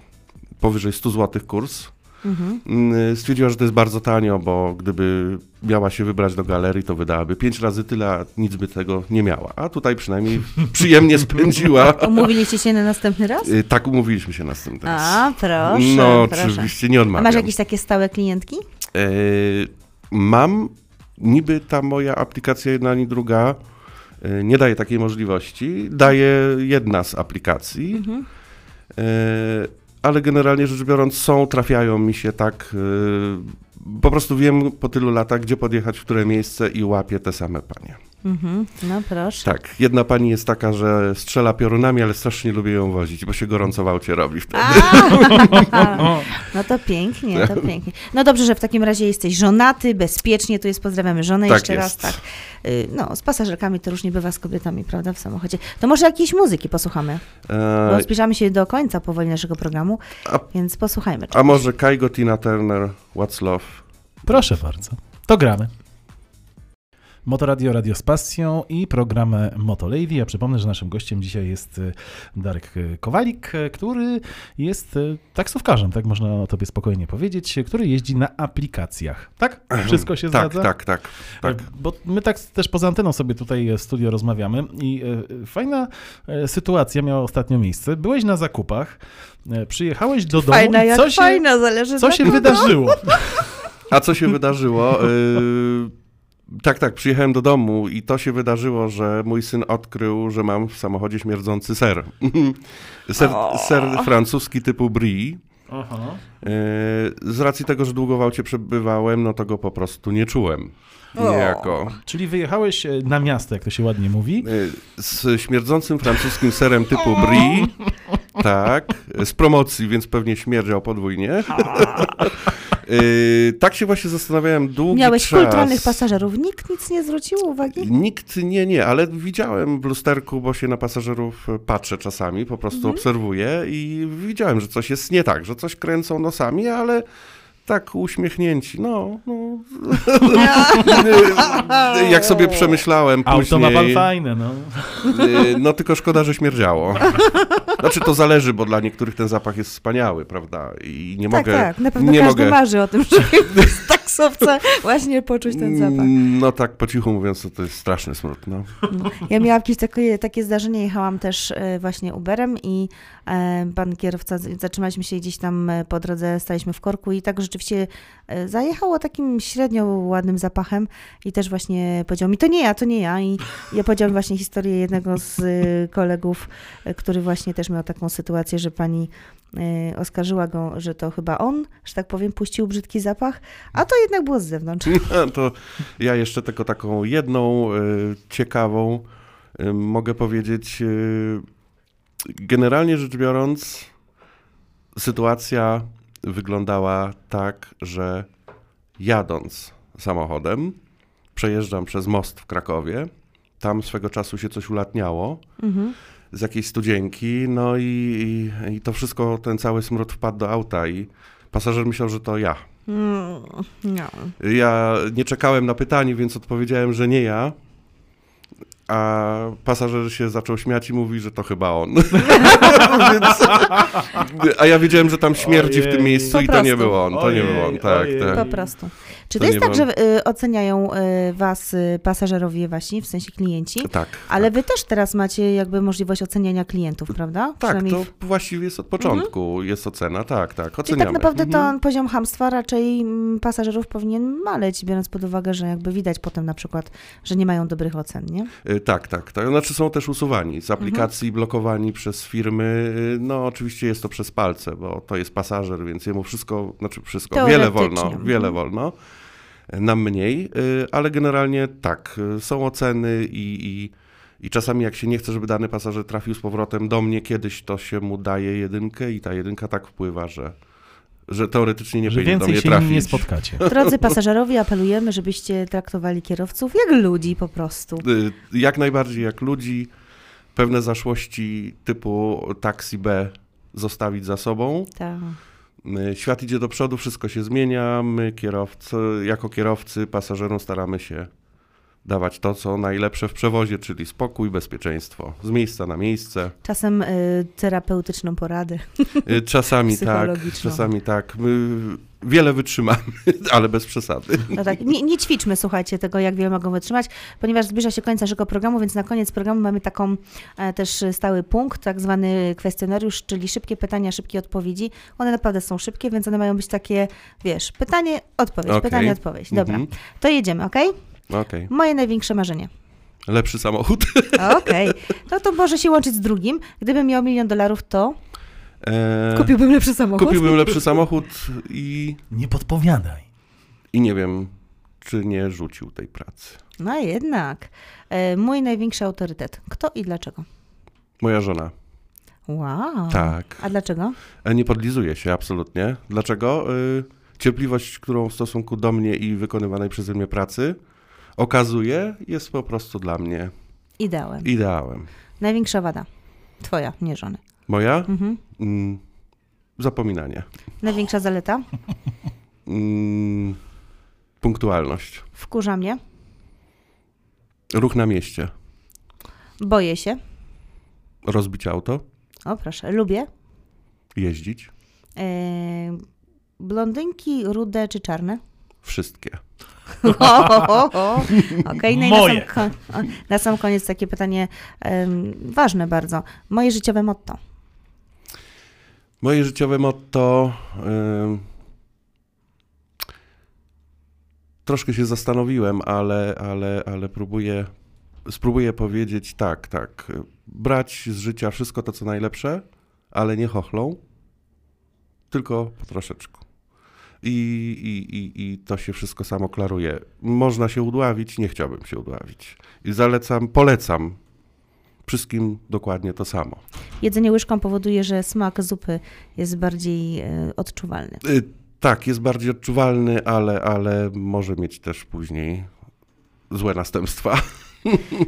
Speaker 3: powyżej 100 zł kurs.
Speaker 2: Mhm.
Speaker 3: Mm, Stwierdziła, że to jest bardzo tanio, bo gdyby miała się wybrać do galerii, to wydałaby 5 razy tyle, a nic by tego nie miała. A tutaj przynajmniej przyjemnie spędziła.
Speaker 2: Umówiliście się na następny raz?
Speaker 3: Y, Tak umówiliśmy się następny raz.
Speaker 2: A, proszę,
Speaker 3: No,
Speaker 2: proszę.
Speaker 3: oczywiście, nie
Speaker 2: A
Speaker 3: odmawiam.
Speaker 2: masz jakieś takie stałe klientki?
Speaker 3: E, mam, niby ta moja aplikacja jedna ani druga e, nie daje takiej możliwości. Daje jedna z aplikacji,
Speaker 2: Mhm.
Speaker 3: e, ale generalnie rzecz biorąc są, trafiają mi się tak... e, Po prostu wiem po tylu latach, gdzie podjechać, w które miejsce i łapię te same panie.
Speaker 2: Mhm. No proszę.
Speaker 3: Tak, jedna pani jest taka, że strzela piorunami, ale strasznie lubię ją wozić, bo się gorąco w aucie robi wtedy.
Speaker 2: A, no to pięknie,
Speaker 3: Tak.
Speaker 2: to pięknie. No dobrze, że w takim razie jesteś żonaty, bezpiecznie, tu jest pozdrawiamy żonę
Speaker 3: Tak
Speaker 2: jeszcze raz,
Speaker 3: jest.
Speaker 2: tak. Y, No, z pasażerkami to różnie bywa z kobietami, prawda, w samochodzie. To może jakiejś muzyki posłuchamy,
Speaker 3: E,
Speaker 2: bo zbliżamy się do końca powoli naszego programu,
Speaker 3: A-
Speaker 2: więc posłuchajmy.
Speaker 3: a może Kaigo, Tina Turner, What's Love?
Speaker 1: proszę bardzo. To gramy. Motoradio, Radio z pasją i program Motolady. Ja przypomnę, że naszym gościem dzisiaj jest y, Darek y, Kowalik, y, który jest y, taksówkarzem, tak można o tobie spokojnie powiedzieć, y, który jeździ na aplikacjach. Tak? Wszystko się
Speaker 3: tak,
Speaker 1: zgadza? Y,
Speaker 3: tak, tak, tak.
Speaker 1: Bo my tak też poza anteną sobie tutaj y, w studio rozmawiamy i e, fajna e, sytuacja miała ostatnio miejsce. Byłeś na zakupach, e, przyjechałeś do domu
Speaker 4: Fajna
Speaker 1: i
Speaker 4: jak
Speaker 1: co się,
Speaker 4: fajna, tak zależy
Speaker 1: co
Speaker 4: na
Speaker 1: się
Speaker 4: kogo.
Speaker 1: wydarzyło?
Speaker 3: A co się wydarzyło? Yy, tak, tak, przyjechałem do domu i to się wydarzyło, że mój syn odkrył, że mam w samochodzie śmierdzący ser. ser, ser francuski typu brie.
Speaker 1: Aha.
Speaker 3: E, Z racji tego, że długo w aucie przebywałem, no to go po prostu nie czułem. Niejako.
Speaker 1: Czyli wyjechałeś e, na miasto, jak to się ładnie mówi.
Speaker 3: E, Z śmierdzącym francuskim serem typu brie, tak, z promocji, więc pewnie śmierdział podwójnie. E, tak się właśnie zastanawiałem długi
Speaker 2: Miałeś
Speaker 3: czas.
Speaker 2: kulturalnych pasażerów, nikt nic nie zwrócił uwagi?
Speaker 3: Nikt nie, nie, ale widziałem w lusterku, bo się na pasażerów patrzę czasami, po prostu
Speaker 2: Mhm.
Speaker 3: obserwuję i widziałem, że coś jest nie tak, że coś kręcą nosami, ale tak uśmiechnięci, no, no.
Speaker 4: tak,
Speaker 3: Jak sobie przemyślałem
Speaker 1: Auto ma pan
Speaker 3: później,
Speaker 1: fajne, no.
Speaker 3: y, no tylko szkoda, że śmierdziało. Znaczy to zależy, bo dla niektórych ten zapach jest wspaniały, prawda, i nie
Speaker 4: Tak,
Speaker 3: mogę...
Speaker 4: tak, na pewno
Speaker 3: nie
Speaker 4: każdy
Speaker 3: mogę.
Speaker 4: marzy o tym, żeby z taksowca właśnie poczuć ten zapach.
Speaker 3: No tak, po cichu mówiąc, to, to jest straszny smród, no.
Speaker 2: Ja miałam jakieś takie, takie zdarzenie, jechałam też e, właśnie Uberem i e, pan kierowca, z- zatrzymaliśmy się gdzieś tam e, po drodze, staliśmy w korku i tak rzeczywiście e, zajechało takim średnio ładnym zapachem i też właśnie powiedział mi, to nie ja, to nie ja i ja powiedziałam właśnie historię jednego z e, kolegów, e, który właśnie też miał taką sytuację, że pani e, oskarżyła go, że to chyba on, że tak powiem, puścił brzydki zapach, a to jednak było z zewnątrz.
Speaker 3: To ja jeszcze tylko taką jedną e, ciekawą e, mogę powiedzieć. e, Generalnie rzecz biorąc, sytuacja wyglądała tak, że jadąc samochodem, przejeżdżam przez most w Krakowie. Tam swego czasu się coś ulatniało
Speaker 2: Mhm.
Speaker 3: z jakiejś studzienki, no i, i, i to wszystko, ten cały smród wpadł do auta i pasażer myślał, że to ja.
Speaker 2: Mm, no.
Speaker 3: Ja nie czekałem na pytanie, więc odpowiedziałem, że nie ja. A pasażer się zaczął śmiać i mówi, że to chyba on. Więc- a ja wiedziałem, że tam śmierdzi w
Speaker 1: Ojej.
Speaker 3: tym miejscu
Speaker 2: Po
Speaker 3: i to nie
Speaker 2: prostu.
Speaker 3: był on. To nie
Speaker 1: Ojej,
Speaker 3: był on, tak,
Speaker 1: ojej.
Speaker 3: tak.
Speaker 2: Po prostu. Czy to,
Speaker 3: To
Speaker 2: jest
Speaker 3: nie
Speaker 2: tak,
Speaker 3: mam-
Speaker 2: że y, oceniają y, was y, pasażerowie wasi, w sensie klienci?
Speaker 3: Tak.
Speaker 2: Ale wy też teraz macie jakby możliwość oceniania klientów, prawda?
Speaker 3: Tak,
Speaker 2: Przynajmniej
Speaker 3: to
Speaker 2: w-
Speaker 3: właściwie jest od początku, jest ocena, tak, tak,
Speaker 2: Czyli
Speaker 3: oceniamy.
Speaker 2: tak naprawdę to
Speaker 3: Mhm.
Speaker 2: poziom hamstwa raczej mm, pasażerów powinien maleć, biorąc pod uwagę, że jakby widać potem na przykład, że nie mają dobrych ocen, nie?
Speaker 3: Y, Tak, tak, tak. Znaczy są też usuwani z aplikacji,
Speaker 2: Mhm.
Speaker 3: blokowani przez firmy. Y, No oczywiście jest to przez palce, bo to jest pasażer, więc jemu wszystko, znaczy wszystko, wiele
Speaker 2: Teoretycznie.
Speaker 3: wolno, wiele
Speaker 2: Mhm.
Speaker 3: wolno. y, Nam mniej, y, ale generalnie tak, y, są oceny i, i, i czasami jak się nie chce, żeby dany pasażer trafił z powrotem do mnie kiedyś, to się mu daje jedynkę i ta jedynka tak wpływa, że, że teoretycznie nie
Speaker 1: Że
Speaker 3: powinien do
Speaker 1: więcej
Speaker 3: mnie
Speaker 1: się nim
Speaker 3: trafić.
Speaker 1: nie spotkacie.
Speaker 2: Drodzy pasażerowie, apelujemy, żebyście traktowali kierowców jak ludzi po prostu.
Speaker 3: Y, jak najbardziej jak ludzi, pewne zaszłości typu taksi B zostawić za sobą.
Speaker 2: Tak.
Speaker 3: Y, Świat idzie do przodu, wszystko się zmienia. My kierowcy, jako kierowcy, pasażerom staramy się dawać to, co najlepsze w przewozie, czyli spokój, bezpieczeństwo. Z miejsca na miejsce.
Speaker 2: Czasem y, terapeutyczną poradę.
Speaker 3: Y, Czasami tak,
Speaker 2: Psychologiczną.
Speaker 3: czasami tak. My wiele wytrzymamy, ale bez przesady.
Speaker 2: No tak, nie, nie ćwiczmy, słuchajcie, tego, jak wiele mogą wytrzymać, ponieważ zbliża się końca naszego programu, więc na koniec programu mamy taką e, też stały punkt, tak zwany kwestionariusz, czyli szybkie pytania, szybkie odpowiedzi. One naprawdę są szybkie, więc one mają być takie, wiesz, pytanie, odpowiedź,
Speaker 3: Okej.
Speaker 2: pytanie, odpowiedź. Dobra,
Speaker 3: Mhm.
Speaker 2: to jedziemy, okej?
Speaker 3: Okej.
Speaker 2: Moje największe marzenie.
Speaker 3: Lepszy samochód.
Speaker 2: Okej, no to może się łączyć z drugim. Gdybym miał milion dolarów, to...
Speaker 3: E,
Speaker 4: Kupiłbym lepszy samochód.
Speaker 3: kupiłbym lepszy samochód i
Speaker 1: Nie podpowiadaj.
Speaker 3: I nie wiem, czy nie rzucił tej pracy.
Speaker 2: No jednak. E, mój największy autorytet. Kto i dlaczego?
Speaker 3: Moja żona.
Speaker 2: Wow.
Speaker 3: Tak.
Speaker 2: A dlaczego?
Speaker 3: E, Nie podlizuje się absolutnie. Dlaczego? Y, Cierpliwość, którą w stosunku do mnie i wykonywanej przeze mnie pracy okazuje, jest po prostu dla mnie
Speaker 2: Ideałem.
Speaker 3: ideałem.
Speaker 2: Największa wada. Twoja, nie żony.
Speaker 3: Moja?
Speaker 2: Mhm.
Speaker 3: Mm, Zapominanie.
Speaker 2: Największa zaleta.
Speaker 3: Mm, Punktualność.
Speaker 2: Wkurza mnie.
Speaker 3: Ruch na mieście.
Speaker 2: Boję się.
Speaker 3: Rozbić auto.
Speaker 2: O proszę. Lubię.
Speaker 3: Jeździć.
Speaker 2: Eee, blondynki, rude czy czarne?
Speaker 3: Wszystkie.
Speaker 2: Ho, ho, ho, ho. Okej, no i
Speaker 1: Moje.
Speaker 2: na sam, ko- na sam koniec takie pytanie em, ważne bardzo. Moje życiowe motto.
Speaker 3: Moje życiowe motto. ym, troszkę się zastanowiłem, ale, ale, ale próbuję, spróbuję powiedzieć tak, tak. Brać z życia wszystko to, co najlepsze, ale nie chochlą, tylko po troszeczku. I, i, i, I to się wszystko samo klaruje. Można się udławić, nie chciałbym się udławić. I zalecam, polecam wszystkim dokładnie to samo.
Speaker 2: Jedzenie łyżką powoduje, że smak zupy jest bardziej e, odczuwalny.
Speaker 3: Y, Tak, jest bardziej odczuwalny, ale, ale może mieć też później złe następstwa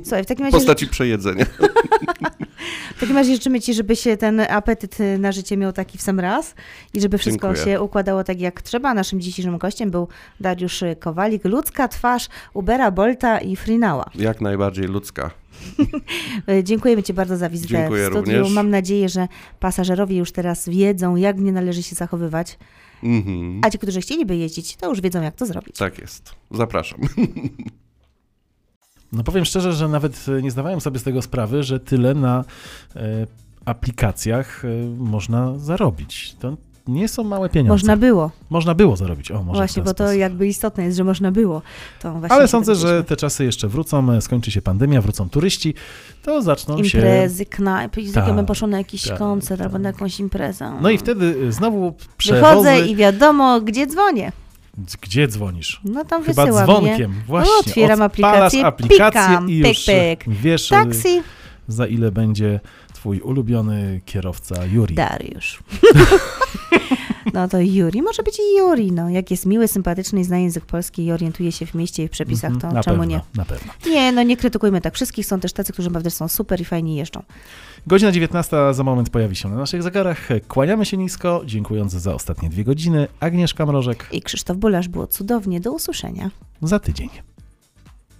Speaker 2: Słuchaj, w takim
Speaker 3: w
Speaker 2: razie,
Speaker 3: postaci przejedzenia.
Speaker 2: w takim razie życzymy Ci, żeby się ten apetyt e, na życie miał taki w sam raz i żeby wszystko
Speaker 3: Dziękuję.
Speaker 2: się układało tak jak trzeba. Naszym dzisiejszym gościem był Dariusz y, Kowalik, ludzka twarz Ubera, Bolta i Frinała.
Speaker 3: Jak najbardziej ludzka.
Speaker 2: E, Dziękujemy Ci bardzo za wizytę
Speaker 3: Dziękuję
Speaker 2: w studiu.
Speaker 3: również.
Speaker 2: Mam nadzieję, że pasażerowie już teraz wiedzą, jak nie należy się zachowywać,
Speaker 3: Mhm.
Speaker 2: a ci, którzy chcieliby jeździć, to już wiedzą, jak to zrobić.
Speaker 3: Tak jest. Zapraszam.
Speaker 1: No powiem szczerze, że nawet e, nie zdawałem sobie z tego sprawy, że tyle na e, aplikacjach e, można zarobić. To nie są małe pieniądze.
Speaker 2: Można było,
Speaker 1: Można było zarobić. O, może w
Speaker 2: właśnie,
Speaker 1: ten
Speaker 2: bo to
Speaker 1: sposób.
Speaker 2: jakby istotne jest, że można było. To właśnie
Speaker 1: Ale
Speaker 2: się tak
Speaker 1: sądzę, że
Speaker 2: dowiedzieliśmy.
Speaker 1: te czasy jeszcze wracą, e, skończy się pandemia, wrócą turyści, to zaczną no się...
Speaker 2: Imprezy, knajpy, i z
Speaker 1: Tak,
Speaker 2: tak, bym poszła na jakiś
Speaker 1: tak,
Speaker 2: koncert albo
Speaker 1: tak.
Speaker 2: na jakąś imprezę.
Speaker 1: No i wtedy e, znowu przewozy...
Speaker 2: Wychodzę i wiadomo, gdzie dzwonię.
Speaker 1: Gdzie dzwonisz?
Speaker 2: No tam
Speaker 1: Chyba
Speaker 2: wysyła mnie.
Speaker 1: dzwonkiem, właśnie.
Speaker 2: otwieram
Speaker 1: Odpalasz
Speaker 2: aplikację,
Speaker 1: aplikację
Speaker 2: pikam,
Speaker 1: i już
Speaker 2: pyk, Tak
Speaker 1: wiesz, e,
Speaker 2: Taksi,
Speaker 1: za ile będzie twój ulubiony kierowca Juri.
Speaker 2: Dariusz. No to Juri, może być i Juri, no. Jak jest miły, sympatyczny i zna język polski i orientuje się w mieście i w przepisach, to
Speaker 1: Mhm, na
Speaker 2: czemu
Speaker 1: pewno,
Speaker 2: nie?
Speaker 1: Na pewno.
Speaker 2: Nie, no nie krytykujmy tak wszystkich, są też tacy, którzy naprawdę są super i fajnie jeżdżą.
Speaker 1: Godzina 19 za moment pojawi się na naszych zegarach. Kłaniamy się nisko, dziękując za ostatnie dwie godziny. Agnieszka Mrożek
Speaker 2: I Krzysztof Bulasz było cudownie, do usłyszenia.
Speaker 1: za tydzień.